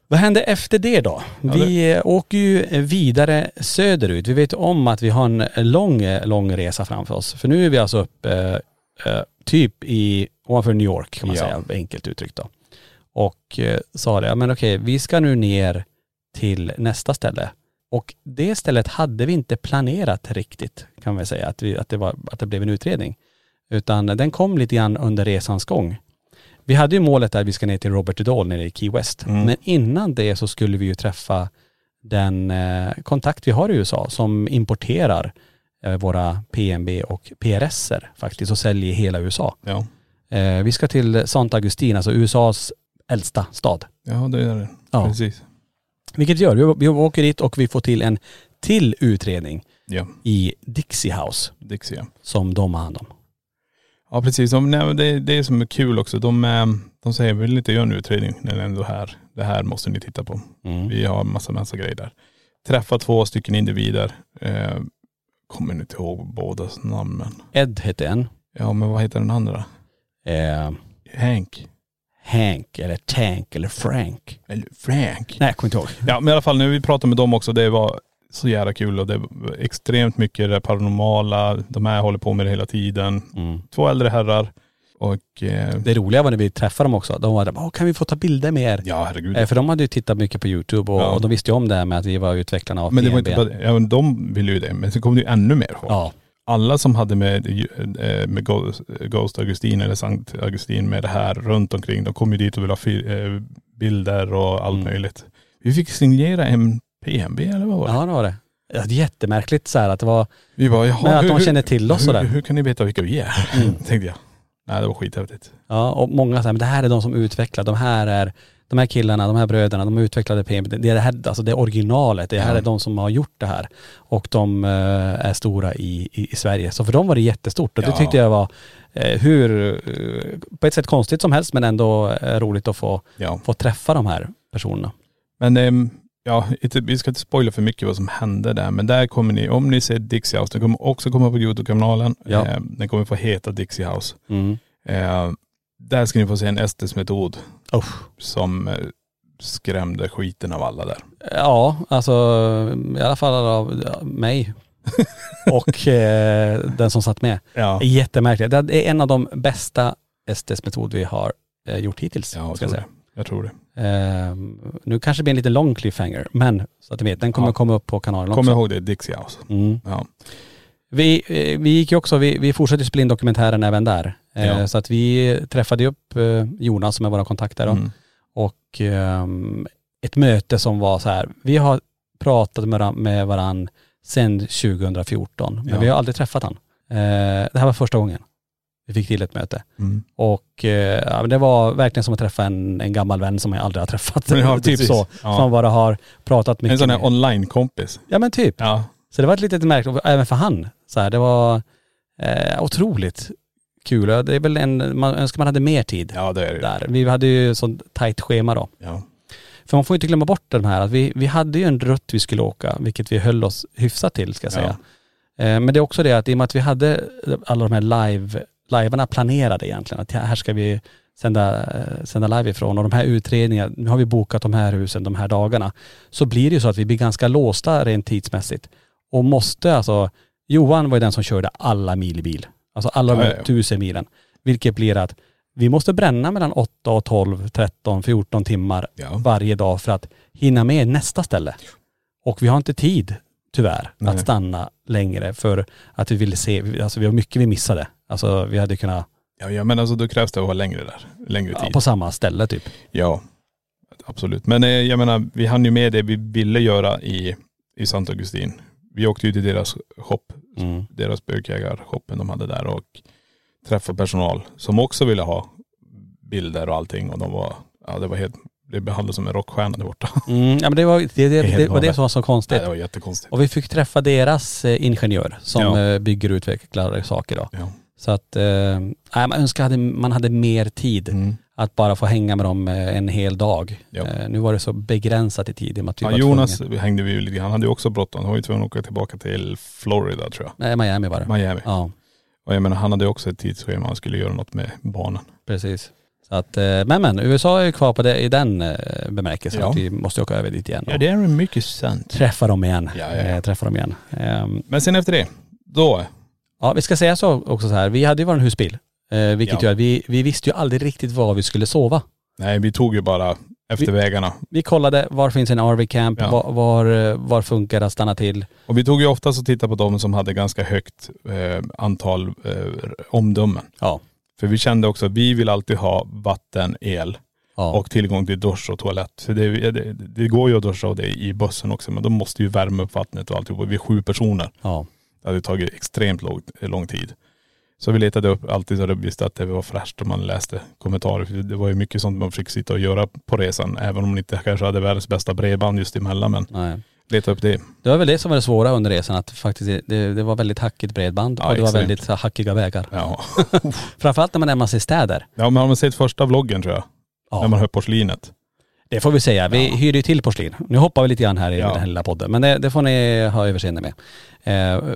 Speaker 3: Vad hände efter det då?
Speaker 2: Ja,
Speaker 3: Vi eh, åker ju vidare söderut. Vi vet om att vi har en lång, eh, lång resa framför oss. För nu är vi alltså uppe eh, eh, typ i, ovanför New York kan man
Speaker 2: Ja.
Speaker 3: säga, enkelt uttryckt då. Och eh, sa det, ja, men okej, vi ska nu ner till nästa ställe. Och det stället hade vi inte planerat riktigt, kan vi säga, att, vi, att, det, var, att det blev en utredning. Utan den kom lite grann under resans gång. Vi hade ju målet där vi ska ner till Robert Idol nere i Key West.
Speaker 2: Mm.
Speaker 3: Men innan det så skulle vi ju träffa den eh, kontakt vi har i USA som importerar eh, våra PMB och PRS-er faktiskt och säljer i hela USA.
Speaker 2: Ja.
Speaker 3: Eh, vi ska till Santa Agustin, alltså USAs äldsta stad.
Speaker 2: Ja det är det.
Speaker 3: Ja.
Speaker 2: Precis.
Speaker 3: Vilket gör, vi, vi åker dit och vi får till en till utredning
Speaker 2: Ja.
Speaker 3: i Dixie House
Speaker 2: Dixie ja.
Speaker 3: som de har hand om.
Speaker 2: Ja precis. De, nej, men det, det är som är kul också. De, eh, de säger vill ni inte göra en utredning när ni ändå är här. Det här måste ni titta på. Vi har massa, massa grejer där. Träffa två stycken individer. Eh, kommer inte ihåg bådas namnen.
Speaker 3: Ed heter en.
Speaker 2: Ja men vad heter den andra?
Speaker 3: Eh,
Speaker 2: Hank.
Speaker 3: Hank eller Tank eller Frank.
Speaker 2: Eller Frank.
Speaker 3: Nej, jag kommer inte ihåg.
Speaker 2: Ja men i alla fall när vi pratade med dem också, det var så jävla kul och det var extremt mycket det paranormala. De här håller på med det hela tiden.
Speaker 3: Mm.
Speaker 2: Två äldre herrar och eh,
Speaker 3: Det roliga var när vi träffade dem också. De var där, "Åh, kan vi få ta bilder med er?
Speaker 2: ja herregud.
Speaker 3: Eh, För de hade ju tittat mycket på YouTube och,
Speaker 2: Ja.
Speaker 3: och de visste ju om det här med att vi var utvecklarna av
Speaker 2: Men det var
Speaker 3: PNB.
Speaker 2: inte bara det. ja, men de ville ju det. Men så kom det ju ännu mer folk.
Speaker 3: Ja,
Speaker 2: Alla som hade med, eh, med Ghost- Ghost Augustin eller Sankt Augustin med det här runt omkring, de kom ju dit och ville ha fi- eh, bilder och allt
Speaker 3: Mm.
Speaker 2: möjligt. Vi fick signera en PMB eller vad var det?
Speaker 3: ja det var det. Ja, det är jättemärkligt så här att det var,
Speaker 2: Vi bara, jaha,
Speaker 3: Men att de
Speaker 2: hur-
Speaker 3: känner till oss
Speaker 2: hur,
Speaker 3: sådär.
Speaker 2: hur, hur kan ni veta vilka vi är?
Speaker 3: Mm.
Speaker 2: Tänkte jag. Nej det var skithäftigt.
Speaker 3: ja och många så här, men det här är de som utvecklar, de här är, de här killarna, de här bröderna, de utvecklade PMB. Det är det här, alltså det är originalet, det här
Speaker 2: Ja.
Speaker 3: är de som har gjort det här. Och de eh, är stora i, i, i Sverige. Så för dem var det jättestort och det
Speaker 2: Ja.
Speaker 3: tyckte jag var eh, hur, eh, på ett sätt konstigt som helst men ändå eh, roligt att få,
Speaker 2: Ja.
Speaker 3: få träffa de här personerna.
Speaker 2: Men ehm, ja, inte, vi ska inte spoila för mycket vad som hände där. Men där kommer ni, om ni ser Dixie House, den kommer också komma på Youtube-kanalen.
Speaker 3: Ja.
Speaker 2: Eh, den kommer få heta Dixie House.
Speaker 3: Mm.
Speaker 2: Eh, där ska ni få se en Estes metod
Speaker 3: Usch.
Speaker 2: som eh, skrämde skiten av alla där.
Speaker 3: Ja, alltså i alla fall av ja, mig och eh, den som satt med.
Speaker 2: Ja.
Speaker 3: Jättemärkligt. Det är en av de bästa STS-metod vi har eh, gjort hittills.
Speaker 2: Ja, jag
Speaker 3: ska jag
Speaker 2: tror
Speaker 3: säga.
Speaker 2: det. Jag tror det.
Speaker 3: Eh, nu kanske det blir en lite lång cliffhanger, men så att ni vet, den kommer
Speaker 2: Ja.
Speaker 3: komma upp på kanalen
Speaker 2: Kom
Speaker 3: också.
Speaker 2: ihåg det, Dixie House.
Speaker 3: Mm.
Speaker 2: Ja.
Speaker 3: Vi, eh, vi gick ju också, vi, vi fortsatte ju spela in dokumentären även där. Eh,
Speaker 2: Ja.
Speaker 3: Så att vi träffade ju upp eh, Jonas som är våra kontakt där då.
Speaker 2: Mm.
Speaker 3: och ehm, ett möte som var så här, vi har pratat med, varann- med varann sedan 2014, men
Speaker 2: Ja.
Speaker 3: vi har aldrig träffat han. Eh, det här var första gången vi fick till ett möte.
Speaker 2: Mm.
Speaker 3: Och eh, ja, men det var verkligen som att träffa en, en gammal vän som jag aldrig har träffat.
Speaker 2: Ja,
Speaker 3: typ
Speaker 2: precis.
Speaker 3: så.
Speaker 2: Ja.
Speaker 3: Som bara har pratat mycket
Speaker 2: En sån här
Speaker 3: med.
Speaker 2: online-kompis.
Speaker 3: Ja men typ.
Speaker 2: Ja.
Speaker 3: Så det var ett litet märkligt, och även för han. Så här, det var eh, otroligt kul. Det är väl en, man önskar man hade mer tid
Speaker 2: Ja det är det ju.
Speaker 3: där. Vi hade ju sånt tajt schema då.
Speaker 2: Ja.
Speaker 3: För man får ju inte glömma bort de här, att vi, vi hade ju en rutt vi skulle åka, vilket vi höll oss hyfsat till ska jag säga. Eh, Men det är också det att i och med att vi hade alla de här live, livearna planerade egentligen, att här ska vi sända, eh, sända live ifrån och de här utredningarna, nu har vi bokat de här husen de här dagarna, så blir det ju så att vi blir ganska låsta rent tidsmässigt. Och måste alltså, Johan var ju den som körde alla mil i bil. Alltså alla de
Speaker 2: Ja, ja,
Speaker 3: här
Speaker 2: ja.
Speaker 3: tusen milen. Vilket blir att vi måste bränna mellan 8 och 12, 13, 14 timmar
Speaker 2: Ja.
Speaker 3: varje dag för att hinna med nästa ställe. Och vi har inte tid, tyvärr,
Speaker 2: Nej.
Speaker 3: att stanna längre för att vi ville se, alltså vi har mycket vi missade. Alltså vi hade kunnat,
Speaker 2: Ja, ja men alltså då krävs det att vara längre där. Längre tid.
Speaker 3: ja, på samma ställe typ.
Speaker 2: Ja, absolut. Men eh, jag menar, vi hann ju med det vi ville göra i, i Sant Augustin. Vi åkte ju till deras shop,
Speaker 3: Mm.
Speaker 2: deras bögjägarshoppen de hade där och träffade personal som också ville ha bilder och allting och de var, ja det var helt, det behandlades som en rockstjärna där borta.
Speaker 3: Mm, ja men det var det, det,
Speaker 2: är helt
Speaker 3: det, var det
Speaker 2: galet.
Speaker 3: som var så
Speaker 2: Det,
Speaker 3: konstigt.
Speaker 2: det var jättekonstigt.
Speaker 3: Och vi fick träffa deras eh, ingenjör som
Speaker 2: Ja.
Speaker 3: eh, bygger och utvecklar saker då.
Speaker 2: Ja.
Speaker 3: Så att, eh, nej, man önskar hade, man hade mer tid
Speaker 2: Mm.
Speaker 3: att bara få hänga med dem eh, en hel dag.
Speaker 2: Ja.
Speaker 3: Eh, nu var det så begränsat i tid i och med Typ att vi
Speaker 2: Ja,
Speaker 3: var
Speaker 2: Jonas
Speaker 3: tvungna-
Speaker 2: hängde vi ju lite grann. Han hade ju också bråttom. Han var ju tvungen att åka tillbaka till Florida tror jag.
Speaker 3: Nej, Miami var det.
Speaker 2: Miami.
Speaker 3: Ja,
Speaker 2: Och jag menar han hade ju också ett tidsschema. Han skulle göra något med barnen.
Speaker 3: precis. Så att, eh, men men, USA är ju kvar på det, i den eh, bemärkelsen
Speaker 2: Ja.
Speaker 3: att vi måste åka över dit igen och
Speaker 2: är mycket sant.
Speaker 3: träffa dem igen.
Speaker 2: Ja, ja, ja.
Speaker 3: Eh, träffa dem igen. Ehm,
Speaker 2: Men sen efter det, då
Speaker 3: Ja, vi ska säga så också så här, vi hade ju vår husbil. Eh, vilket
Speaker 2: Ja.
Speaker 3: gör att vi, vi visste ju aldrig riktigt var vi skulle sova.
Speaker 2: Nej, vi tog ju bara efter
Speaker 3: Vi-
Speaker 2: vägarna.
Speaker 3: Vi kollade, var finns en RV-camp,
Speaker 2: Ja.
Speaker 3: var, var, eh, var funkar det att stanna till?
Speaker 2: Och vi tog ju oftast och tittade på de som hade ganska högt eh, antal eh, omdömen.
Speaker 3: Ja.
Speaker 2: För vi kände också att vi vill alltid ha vatten, el
Speaker 3: Ja,
Speaker 2: och tillgång till dusch och toalett. För det, det, det går ju att duscha och det i bussen också, men de måste ju värma upp vattnet och alltihop. Och vi är sju personer.
Speaker 3: ja.
Speaker 2: Det hade tagit extremt lång, lång tid. Så vi letade upp alltid så att vi visste att det var fräscht och man läste kommentarer. För det var ju mycket sånt man fick sitta och göra på resan. Även om man inte kanske hade världens bästa bredband just emellan. Men
Speaker 3: Nej.
Speaker 2: leta upp det.
Speaker 3: Det var väl det som var det svåra under resan, att faktiskt det, det var väldigt hackigt bredband
Speaker 2: Ja,
Speaker 3: och det var
Speaker 2: extremt.
Speaker 3: väldigt så, här hackiga vägar.
Speaker 2: Ja.
Speaker 3: Framförallt när man närmar sig städer.
Speaker 2: Ja men har man sett första vloggen tror jag? När man
Speaker 3: Ja,
Speaker 2: hör porslinet.
Speaker 3: det får vi säga. Vi hyrde ju till porslin. Nu hoppar vi lite grann här i
Speaker 2: Ja.
Speaker 3: den här lilla podden, men det, det får ni ha överseende med. Eh,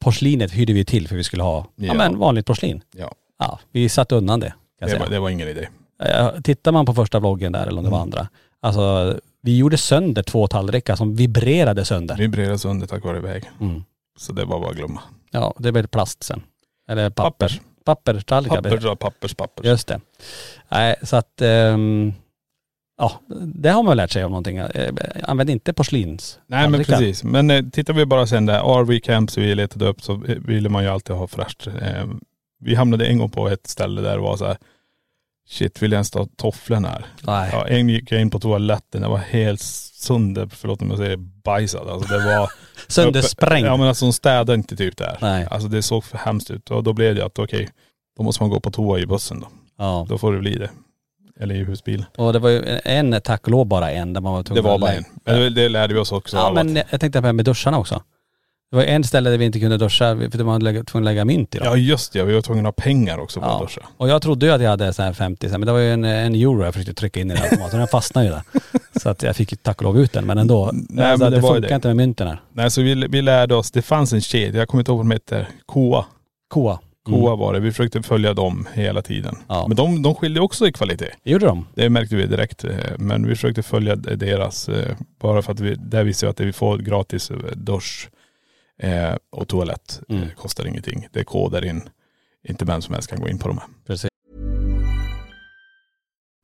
Speaker 3: porslinet hyrde vi till för vi skulle ha ja.
Speaker 2: Ja.
Speaker 3: men vanligt porslin.
Speaker 2: Ja.
Speaker 3: Ja, vi satte undan det. Kan jag
Speaker 2: Det
Speaker 3: säga.
Speaker 2: var, det Mm. var ingen idé.
Speaker 3: Eh, Tittar man på första vloggen där, eller om det var andra, alltså vi gjorde sönder två tallrikar som vibrerade sönder.
Speaker 2: Vibrerade sönder tack vare vägen.
Speaker 3: Mm.
Speaker 2: Så det var bara att glömma.
Speaker 3: Ja, det blev plast sen. Eller papper.
Speaker 2: Pappers.
Speaker 3: Papper, tallrikar.
Speaker 2: Pappers, ja, pappers, pappers.
Speaker 3: Just det. Nej, så att, ehm, ja, det har man väl lärt sig av någonting. Eh, Använd inte porslins.
Speaker 2: Nej men
Speaker 3: tallrikar.
Speaker 2: precis. Men eh, tittar vi bara sen där, RV camps vi letade upp så eh, ville man ju alltid ha fräscht. Eh, vi hamnade en gång på ett ställe där det var så här, shit vill jag ens ta tofflorna här?
Speaker 3: Nej.
Speaker 2: Ja, en gick jag in på toaletten, den var helt sönder, förlåt om jag säger bajsad. Alltså det var..
Speaker 3: Söndersprängd.
Speaker 2: Ja men alltså de städade inte typ där.
Speaker 3: Nej.
Speaker 2: Alltså det såg för hemskt ut. Och då blev det att okej, då måste man gå på toa i bussen då.
Speaker 3: Ja.
Speaker 2: Då får det bli det. Eller i husbil.
Speaker 3: Och det var ju en, tack och lov bara en, där man var
Speaker 2: Det
Speaker 3: tvungen
Speaker 2: var
Speaker 3: att
Speaker 2: bara
Speaker 3: lägga-
Speaker 2: en. Men det- det lärde vi oss också
Speaker 3: Ja
Speaker 2: av
Speaker 3: men
Speaker 2: att,
Speaker 3: jag tänkte på det här med duscharna också. Det var en ställe där vi inte kunde duscha för man var lägga- tvungen att lägga mynt i dem.
Speaker 2: Ja just det, vi var tvungna att ha pengar också på
Speaker 3: Ja.
Speaker 2: att duscha.
Speaker 3: Och jag trodde ju att jag hade så här 50 så här, men det var ju en, en euro jag försökte trycka in i den här automaten. Den fastnade ju där. Så att jag fick ju tack och lov ut den men ändå.
Speaker 2: Nej,
Speaker 3: alltså,
Speaker 2: men
Speaker 3: det,
Speaker 2: det var ju
Speaker 3: funkar
Speaker 2: det.
Speaker 3: inte med mynten här.
Speaker 2: Nej så vi, vi lärde oss, det fanns en kedja, jag kommer inte ihåg vad de hette, KOA.
Speaker 3: Koa. Mm.
Speaker 2: KOA var det, vi försökte följa dem hela tiden.
Speaker 3: Ja.
Speaker 2: Men de, de skilde också i kvalitet.
Speaker 3: Det gjorde de.
Speaker 2: Det märkte vi direkt. eh, Men vi försökte följa d- deras, eh, bara för att vi, där visste vi att det vi får gratis eh, dusch eh, och toalett eh,
Speaker 3: Mm.
Speaker 2: kostar ingenting. Det är koder in. Inte vem som helst kan gå in på de här.
Speaker 3: Precis.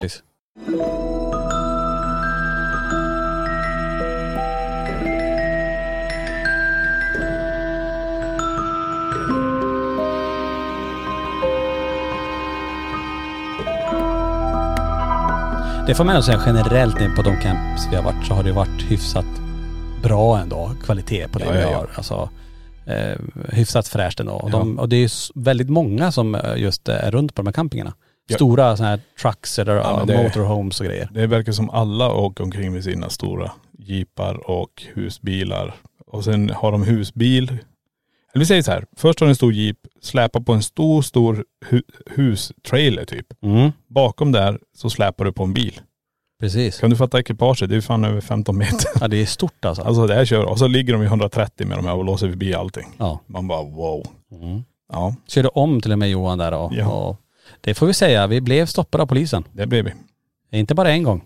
Speaker 3: Precis. Det får man ändå säga generellt in på de camps vi har varit så har det varit hyfsat bra ändå, kvalitet på det
Speaker 2: Ja,
Speaker 3: vi
Speaker 2: ja, ja.
Speaker 3: har. Alltså, eh, hyfsat fräscht ändå. Och, de, och det är ju s- väldigt många som eh, just eh, är runt på de här campingarna.
Speaker 2: Ja.
Speaker 3: Stora sådana här trucks eller
Speaker 2: Ja,
Speaker 3: ja,
Speaker 2: men det-
Speaker 3: motorhomes och grejer.
Speaker 2: Det verkar som alla åker omkring med sina stora jeepar och husbilar. Och sen har de husbil. Eller vi säger så här, först har de en stor jeep, släpar på en stor, stor hu- hustrailer typ.
Speaker 3: Mm,
Speaker 2: Bakom där så släpar du på en bil.
Speaker 3: precis.
Speaker 2: Kan du fatta ekipaget? Det är fan över 15 meter.
Speaker 3: Ja det är stort alltså.
Speaker 2: Alltså det här kör, och så ligger de i 130 med de här och låser förbi allting.
Speaker 3: Ja.
Speaker 2: Man bara wow.
Speaker 3: Mm.
Speaker 2: Ja,
Speaker 3: Körde om till och med Johan där och,
Speaker 2: Ja.
Speaker 3: och det får vi säga, vi blev stoppade av polisen.
Speaker 2: det blev vi.
Speaker 3: Inte bara en gång,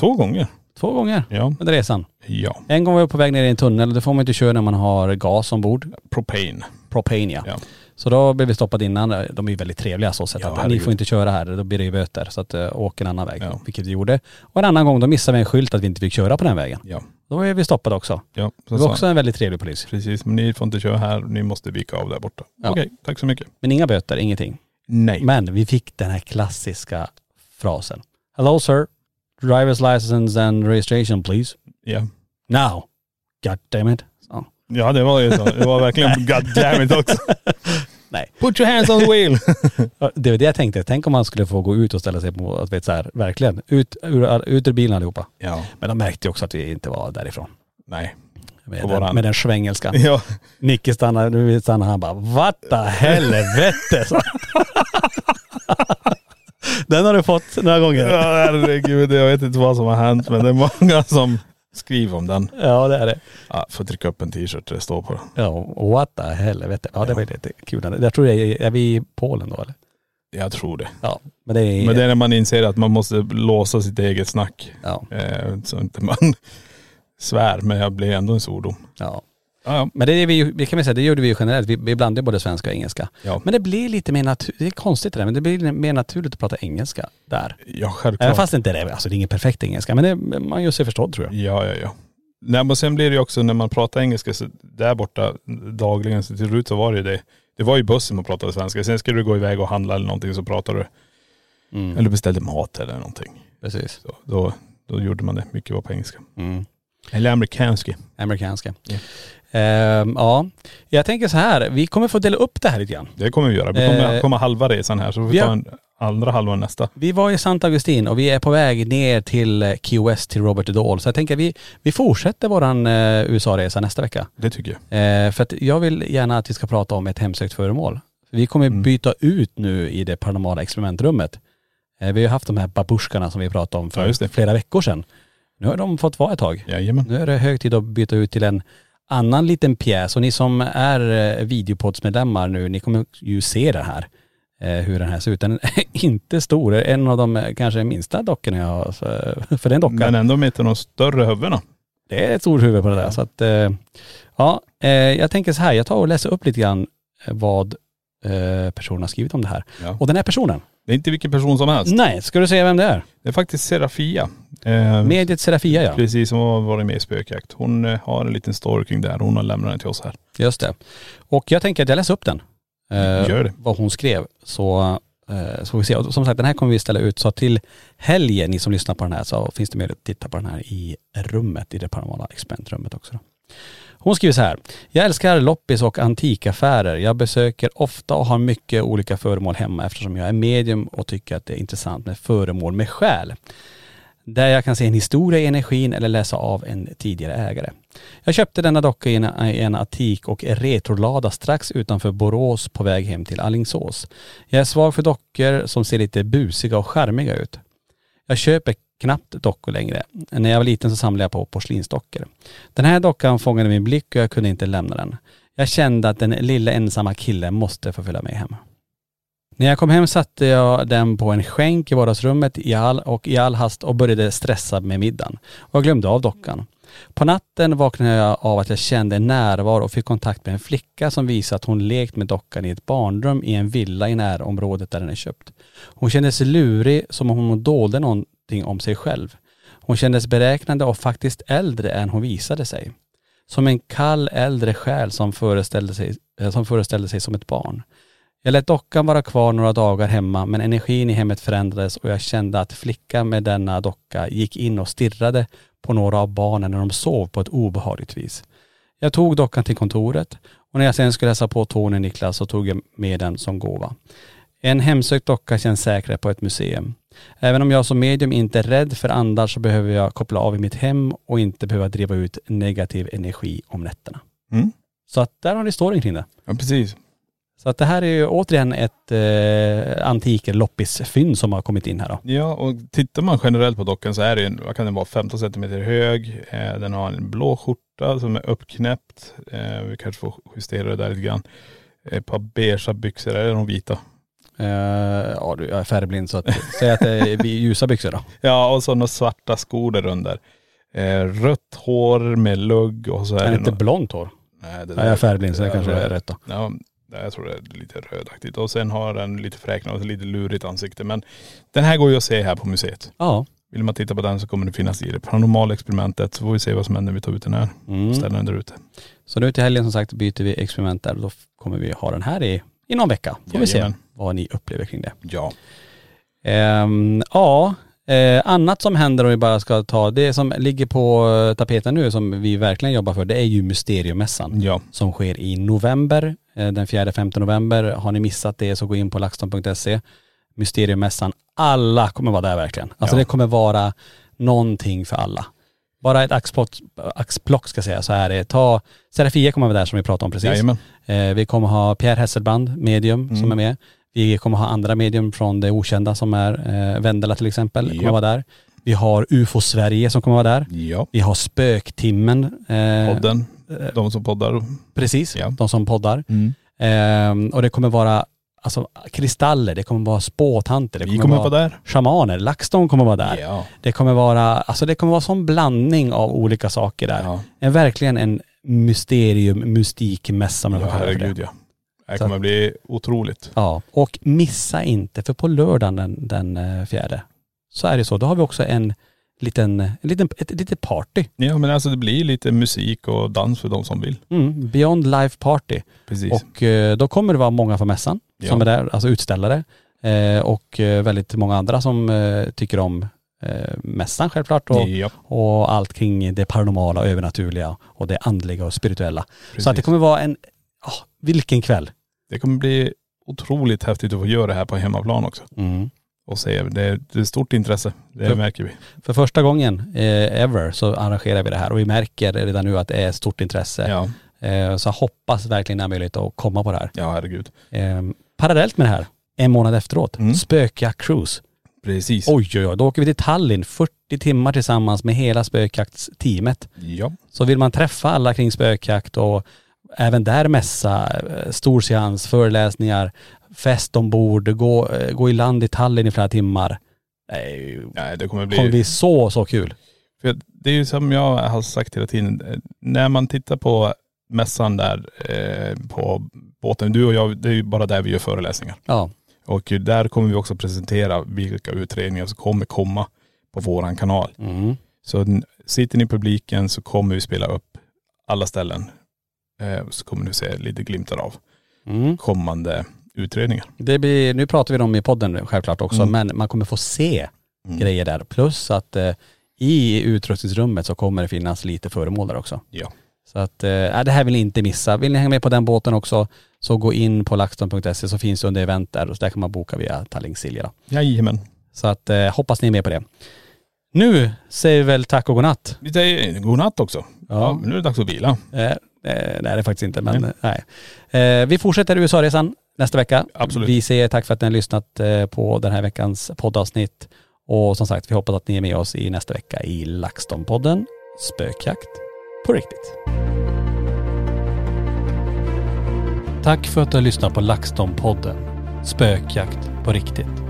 Speaker 2: Två gånger.
Speaker 3: två gånger
Speaker 2: Ja.
Speaker 3: under resan.
Speaker 2: Ja.
Speaker 3: En gång var jag på väg ner i en tunnel, det får man inte köra när man har gas ombord.
Speaker 2: Propane.
Speaker 3: Propane ja.
Speaker 2: Ja.
Speaker 3: Så då blev vi stoppade innan, de är ju väldigt trevliga så sett.
Speaker 2: Ja,
Speaker 3: att ni
Speaker 2: herregud.
Speaker 3: får inte köra här, då blir det ju böter. Så att uh, åk en annan väg,
Speaker 2: Ja.
Speaker 3: vilket vi gjorde. Och en annan gång då missade vi en skylt att vi inte fick köra på den vägen.
Speaker 2: Ja.
Speaker 3: Då var vi stoppade också.
Speaker 2: Ja.
Speaker 3: Det
Speaker 2: Så
Speaker 3: var
Speaker 2: sa
Speaker 3: också en väldigt trevlig polis.
Speaker 2: han, Precis, men ni får inte köra här, ni måste vika av där borta.
Speaker 3: Ja.
Speaker 2: Okej, tack så mycket.
Speaker 3: Men inga böter, ingenting.
Speaker 2: Nej.
Speaker 3: Men vi fick den här klassiska frasen. Hello sir, driver's license and registration please.
Speaker 2: Ja.
Speaker 3: Now. God damn it. Så.
Speaker 2: ja, det var ju så. Det var verkligen god damn it också.
Speaker 3: Nej.
Speaker 2: Put your hands on the wheel.
Speaker 3: Det var det jag tänkte. Tänk om man skulle få gå ut och ställa sig på, att vet så här, verkligen, ut ur, ut ur bilen allihopa.
Speaker 2: ja.
Speaker 3: Men de märkte ju också att vi inte var därifrån.
Speaker 2: Nej.
Speaker 3: Med,
Speaker 2: Och
Speaker 3: den,
Speaker 2: varann.
Speaker 3: med den svengelska.
Speaker 2: Ja.
Speaker 3: Nicke stannade, nu vill stanna, han bara what the helvete. sa han. den har du fått några gånger.
Speaker 2: ja, herregud. Jag vet inte vad som har hänt, men det är många som skriver om den.
Speaker 3: Ja det är det.
Speaker 2: Ja, får trycka upp en t-shirt där det står på den.
Speaker 3: Ja, what the helvete. Ja det var ju lite kul. Jag tror jag är, är vi i Polen då eller?
Speaker 2: Jag tror det.
Speaker 3: Ja. Men det är..
Speaker 2: Men det är när man inser att man måste låsa sitt eget snack.
Speaker 3: ja,
Speaker 2: Eh, så inte man svär, men jag blir ändå en svordom.
Speaker 3: ja.
Speaker 2: Ja, ja.
Speaker 3: Men det, är vi, ju- det kan man säga, det gjorde vi ju generellt. Vi, vi blandade både svenska och engelska.
Speaker 2: Ja.
Speaker 3: Men det blir lite mer naturligt, det är konstigt det där, men det blir mer naturligt att prata engelska där.
Speaker 2: ja
Speaker 3: Även
Speaker 2: självklart.
Speaker 3: fast inte det, alltså det är ingen perfekt engelska, men det, man gör sig förstådd tror jag.
Speaker 2: Ja, ja, ja. Nej, men sen blir det ju också när man pratar engelska så där borta dagligen så till slut så var det ju det. Det var ju bussen man pratade svenska. Sen skulle du gå iväg och handla eller någonting så pratade du,
Speaker 3: Mm.
Speaker 2: eller beställde mat eller någonting.
Speaker 3: Precis.
Speaker 2: Så, då, då gjorde man det. Mycket var på engelska.
Speaker 3: Mm.
Speaker 2: Eller amerikanska.
Speaker 3: Amerikanska. Ehm, ja, jag tänker så här, vi kommer få dela upp det här lite grann.
Speaker 2: Det kommer vi göra. Vi kommer
Speaker 3: Eh,
Speaker 2: komma halva resan här så får vi
Speaker 3: ja.
Speaker 2: ta en andra halvan nästa.
Speaker 3: Vi var i Sant Augustin och vi är på väg ner till eh, Key West till Robert Dole. Så jag tänker vi, vi fortsätter våran eh, USA-resa nästa vecka.
Speaker 2: Det tycker jag.
Speaker 3: Eh, för att jag vill gärna att vi ska prata om ett hemsökt föremål. Vi kommer
Speaker 2: Mm.
Speaker 3: byta ut nu i det paranormala experimentrummet. Eh, vi har ju haft de här babusjkarna som vi pratade om
Speaker 2: Ja,
Speaker 3: för
Speaker 2: just det.
Speaker 3: flera veckor sedan. Nu har de fått vara ett tag.
Speaker 2: Jajamän.
Speaker 3: Nu är det hög tid att byta ut till en annan liten pjäs. Och ni som är eh, videopoddsmedlemmar nu, ni kommer ju se det här. eh, Hur den här ser ut. Den är inte stor. Det är En av de eh, kanske minsta dockorna jag har. så- eh, För den dockan.
Speaker 2: Men ändå med inte de större huvudena.
Speaker 3: Det är ett stort huvud på det där. Så att, eh, ja, eh, jag tänker så här, jag tar och läser upp lite grann eh, vad eh, personen har skrivit om det här.
Speaker 2: Ja.
Speaker 3: Och den här personen,
Speaker 2: Det är inte vilken person som helst.
Speaker 3: nej, ska du säga vem det är?
Speaker 2: Det är faktiskt Serafia. Eh,
Speaker 3: Mediet Serafia ja.
Speaker 2: Precis, som har varit med i Spökjakt. Hon eh, har en liten story kring det här. Hon har lämnat den till oss här.
Speaker 3: Just det. Och jag tänker att jag läser upp den. Eh,
Speaker 2: Gör det.
Speaker 3: Vad hon skrev. Så, eh, så får vi se. Och som sagt, den här kommer vi ställa ut. Så till helgen, ni som lyssnar på den här, så finns det möjlighet att titta på den här i rummet, i det paranormala experimentrummet också. Då. Hon skriver så här. Jag älskar loppis och antikaffärer. Jag besöker ofta och har mycket olika föremål hemma eftersom jag är medium och tycker att det är intressant med föremål med själ. Där jag kan se en historia i energin eller läsa av en tidigare ägare. Jag köpte denna docka i en, i en attik och retrolada strax utanför Borås på väg hem till Allingsås. Jag är svag för dockor som ser lite busiga och charmiga ut. Jag köper knappt dockor längre. När jag var liten så samlade jag på porslinsdockor. Den här dockan fångade min blick och jag kunde inte lämna den. Jag kände att den lilla ensamma killen måste få följa med hem. När jag kom hem satte jag den på en skänk i vardagsrummet i all, och i all hast och började stressa med middagen. Och jag glömde av dockan. På natten vaknade jag av att jag kände en närvaro och fick kontakt med en flicka som visade att hon lekt med dockan i ett barnrum i en villa i närområdet där den är köpt. Hon kändes lurig som om hon dolde någonting om sig själv. Hon kändes beräknande och faktiskt äldre än hon visade sig. Som en kall äldre själ som föreställde sig, eh, som, föreställde sig som ett barn. Jag lät dockan vara kvar några dagar hemma men energin i hemmet förändrades och jag kände att flickan med denna docka gick in och stirrade på några av barnen när de sov på ett obehagligt vis. Jag tog dockan till kontoret och när jag sen skulle hälsa på Tony Niklas så tog jag med den som gåva. En hemsökt docka känns säkrare på ett museum. Även om jag som medium inte är rädd för andar så behöver jag koppla av i mitt hem och inte behöva driva ut negativ energi om nätterna.
Speaker 2: Mm.
Speaker 3: Så att där har ni storyn kring det.
Speaker 2: Ja, precis.
Speaker 3: Så att det här är ju återigen ett eh, antiker loppisfynd som har kommit in här då.
Speaker 2: Ja, och tittar man generellt på dockan så är det ju, en- vad kan den vara, 15 centimeter hög. Eh, den har en blå skjorta som är uppknäppt. Eh, vi kanske får justera det där lite grann. Eh, Ett par beigea byxor, eller de vita.
Speaker 3: Eh, ja, du, jag är färgblind så att, säg att det är ljusa byxor då.
Speaker 2: Ja, och så några svarta skor där under. Eh, rött hår med lugg och så är
Speaker 3: Han
Speaker 2: det
Speaker 3: är inte
Speaker 2: nå-
Speaker 3: blont hår.
Speaker 2: Nej, det
Speaker 3: Ja, jag är färgblind så det
Speaker 2: där
Speaker 3: kanske
Speaker 2: röd-
Speaker 3: är rätt då.
Speaker 2: Ja, nej, jag tror det är lite rödaktigt. Och sen har den lite fräknat och lite lurigt ansikte. Men den här går ju att se här på museet.
Speaker 3: Ja.
Speaker 2: Vill man titta på den så kommer det finnas i det paranormala experimentet. Så får vi se vad som händer när vi tar ut den här.
Speaker 3: Mm.
Speaker 2: och Ställer den där ute.
Speaker 3: Så nu till helgen som sagt byter vi experiment där och då f- kommer vi ha den här i, i någon vecka. Får vi se
Speaker 2: Jajamän.
Speaker 3: vad ni upplever kring det.
Speaker 2: Ja.
Speaker 3: Ehm, ja, eh, annat som händer om vi bara ska ta, det som ligger på eh, tapeten nu som vi verkligen jobbar för, det är ju Mysteriummässan.
Speaker 2: Ja.
Speaker 3: som sker i november, eh, den 4-5 november. Har ni missat det så gå in på laxton.se. Mysteriummässan, alla kommer vara där verkligen. Alltså
Speaker 2: Ja.
Speaker 3: det kommer vara någonting för alla. Bara ett axplock, axplock ska jag säga så här är ta, Serafia kommer vara där som vi pratade om precis.
Speaker 2: Jajamän. Mm.
Speaker 3: Eh, vi kommer ha Pierre Hesselbrand, medium, som är med. Vi kommer ha andra medium från det okända som är eh, Vendela till exempel, kommer
Speaker 2: Ja.
Speaker 3: vara där. Vi har UFO Sverige som kommer vara där.
Speaker 2: Ja.
Speaker 3: Vi har Spöktimmen. eh,
Speaker 2: Podden. De som poddar.
Speaker 3: Precis,
Speaker 2: Ja. Mm.
Speaker 3: de som poddar. Ehm, och det kommer vara alltså, kristaller, det kommer vara spåtanter, det
Speaker 2: Vi kommer
Speaker 3: vara
Speaker 2: vara där.
Speaker 3: shamaner, LaxTon kommer vara där.
Speaker 2: Ja.
Speaker 3: Det kommer vara, alltså det kommer vara sån blandning av olika saker där.
Speaker 2: Ja,
Speaker 3: En, verkligen en mysterium, mystikmässa om
Speaker 2: ja
Speaker 3: man får kalla det för
Speaker 2: herregud
Speaker 3: det.
Speaker 2: ja. Det här
Speaker 3: Så-
Speaker 2: kommer bli otroligt.
Speaker 3: Ja, och missa inte, för på lördagen den, den eh, fjärde så är det så, då har vi också en liten, en liten ett litet party.
Speaker 2: Ja men alltså det blir lite musik och dans för de som vill.
Speaker 3: Mm, Beyond Life Party.
Speaker 2: Precis.
Speaker 3: Och eh, då kommer det vara många från mässan
Speaker 2: Ja.
Speaker 3: som är där, alltså utställare. Eh, och eh, väldigt många andra som eh, tycker om eh, mässan självklart. Och,
Speaker 2: ja.
Speaker 3: och allt kring det paranormala, övernaturliga och det andliga och spirituella. Så att det
Speaker 2: Precis.
Speaker 3: kommer vara en, ah, vilken kväll.
Speaker 2: Det kommer bli otroligt häftigt att få göra det här på hemmaplan också.
Speaker 3: Mm.
Speaker 2: Och se, det är det är stort intresse. Det
Speaker 3: Ja.
Speaker 2: märker vi.
Speaker 3: För första gången eh, ever så arrangerar vi det här och vi märker redan nu att det är stort intresse.
Speaker 2: Ja,
Speaker 3: Eh, så jag hoppas verkligen det är möjligt att komma på det här.
Speaker 2: ja herregud.
Speaker 3: Eh, parallellt med det här, en månad efteråt,
Speaker 2: Mm.
Speaker 3: Spökjakt Cruise.
Speaker 2: Precis.
Speaker 3: Oj, oj, oj. Då åker vi till Tallinn 40 timmar tillsammans med hela spökjaktsteamet.
Speaker 2: Ja,
Speaker 3: Så vill man träffa alla kring spökjakt och även där mässa, eh, stor seans, föreläsningar, fest ombord, gå, eh, gå i land i Tallinn i flera timmar. Det är ju-
Speaker 2: nej det kommer bli..
Speaker 3: kommer bli så, så kul.
Speaker 2: För det är ju som jag har sagt hela tiden. eh, När man tittar på mässan där eh, på båten. Du och jag, det är ju bara där vi gör föreläsningar.
Speaker 3: Ja.
Speaker 2: Och ju där kommer vi också presentera vilka utredningar som kommer komma på våran kanal.
Speaker 3: Mm.
Speaker 2: Så n- sitter ni i publiken så kommer vi spela upp alla ställen. Eh, så kommer ni se lite glimtar av
Speaker 3: Mm.
Speaker 2: kommande utredningar.
Speaker 3: Det blir, nu pratar vi om i podden självklart också,
Speaker 2: Mm.
Speaker 3: men man kommer få se grejer där. Plus att eh, i utrustningsrummet så kommer det finnas lite föremål där också.
Speaker 2: Ja.
Speaker 3: Så att, eh, ja, det här vill ni inte missa. Vill ni hänga med på den båten också så gå in på laxton.se så finns det under event där och där kan man boka via Tallink Silja. då.
Speaker 2: Jajamän.
Speaker 3: Så att eh, hoppas ni är med på det. Nu säger vi väl tack och godnatt.
Speaker 2: Vi säger godnatt också. Ja, nu är det dags att vila.
Speaker 3: Eh, eh, nej det är det faktiskt inte men eh, nej. Eh, vi fortsätter USA-resan nästa vecka.
Speaker 2: Absolut.
Speaker 3: Vi säger tack för att ni har lyssnat eh, på den här veckans poddavsnitt. Och som sagt, vi hoppas att ni är med oss i nästa vecka i LaxTon-podden Spökjakt på riktigt.
Speaker 1: Tack för att du har lyssnat på LaxTon-podden Spökjakt på riktigt.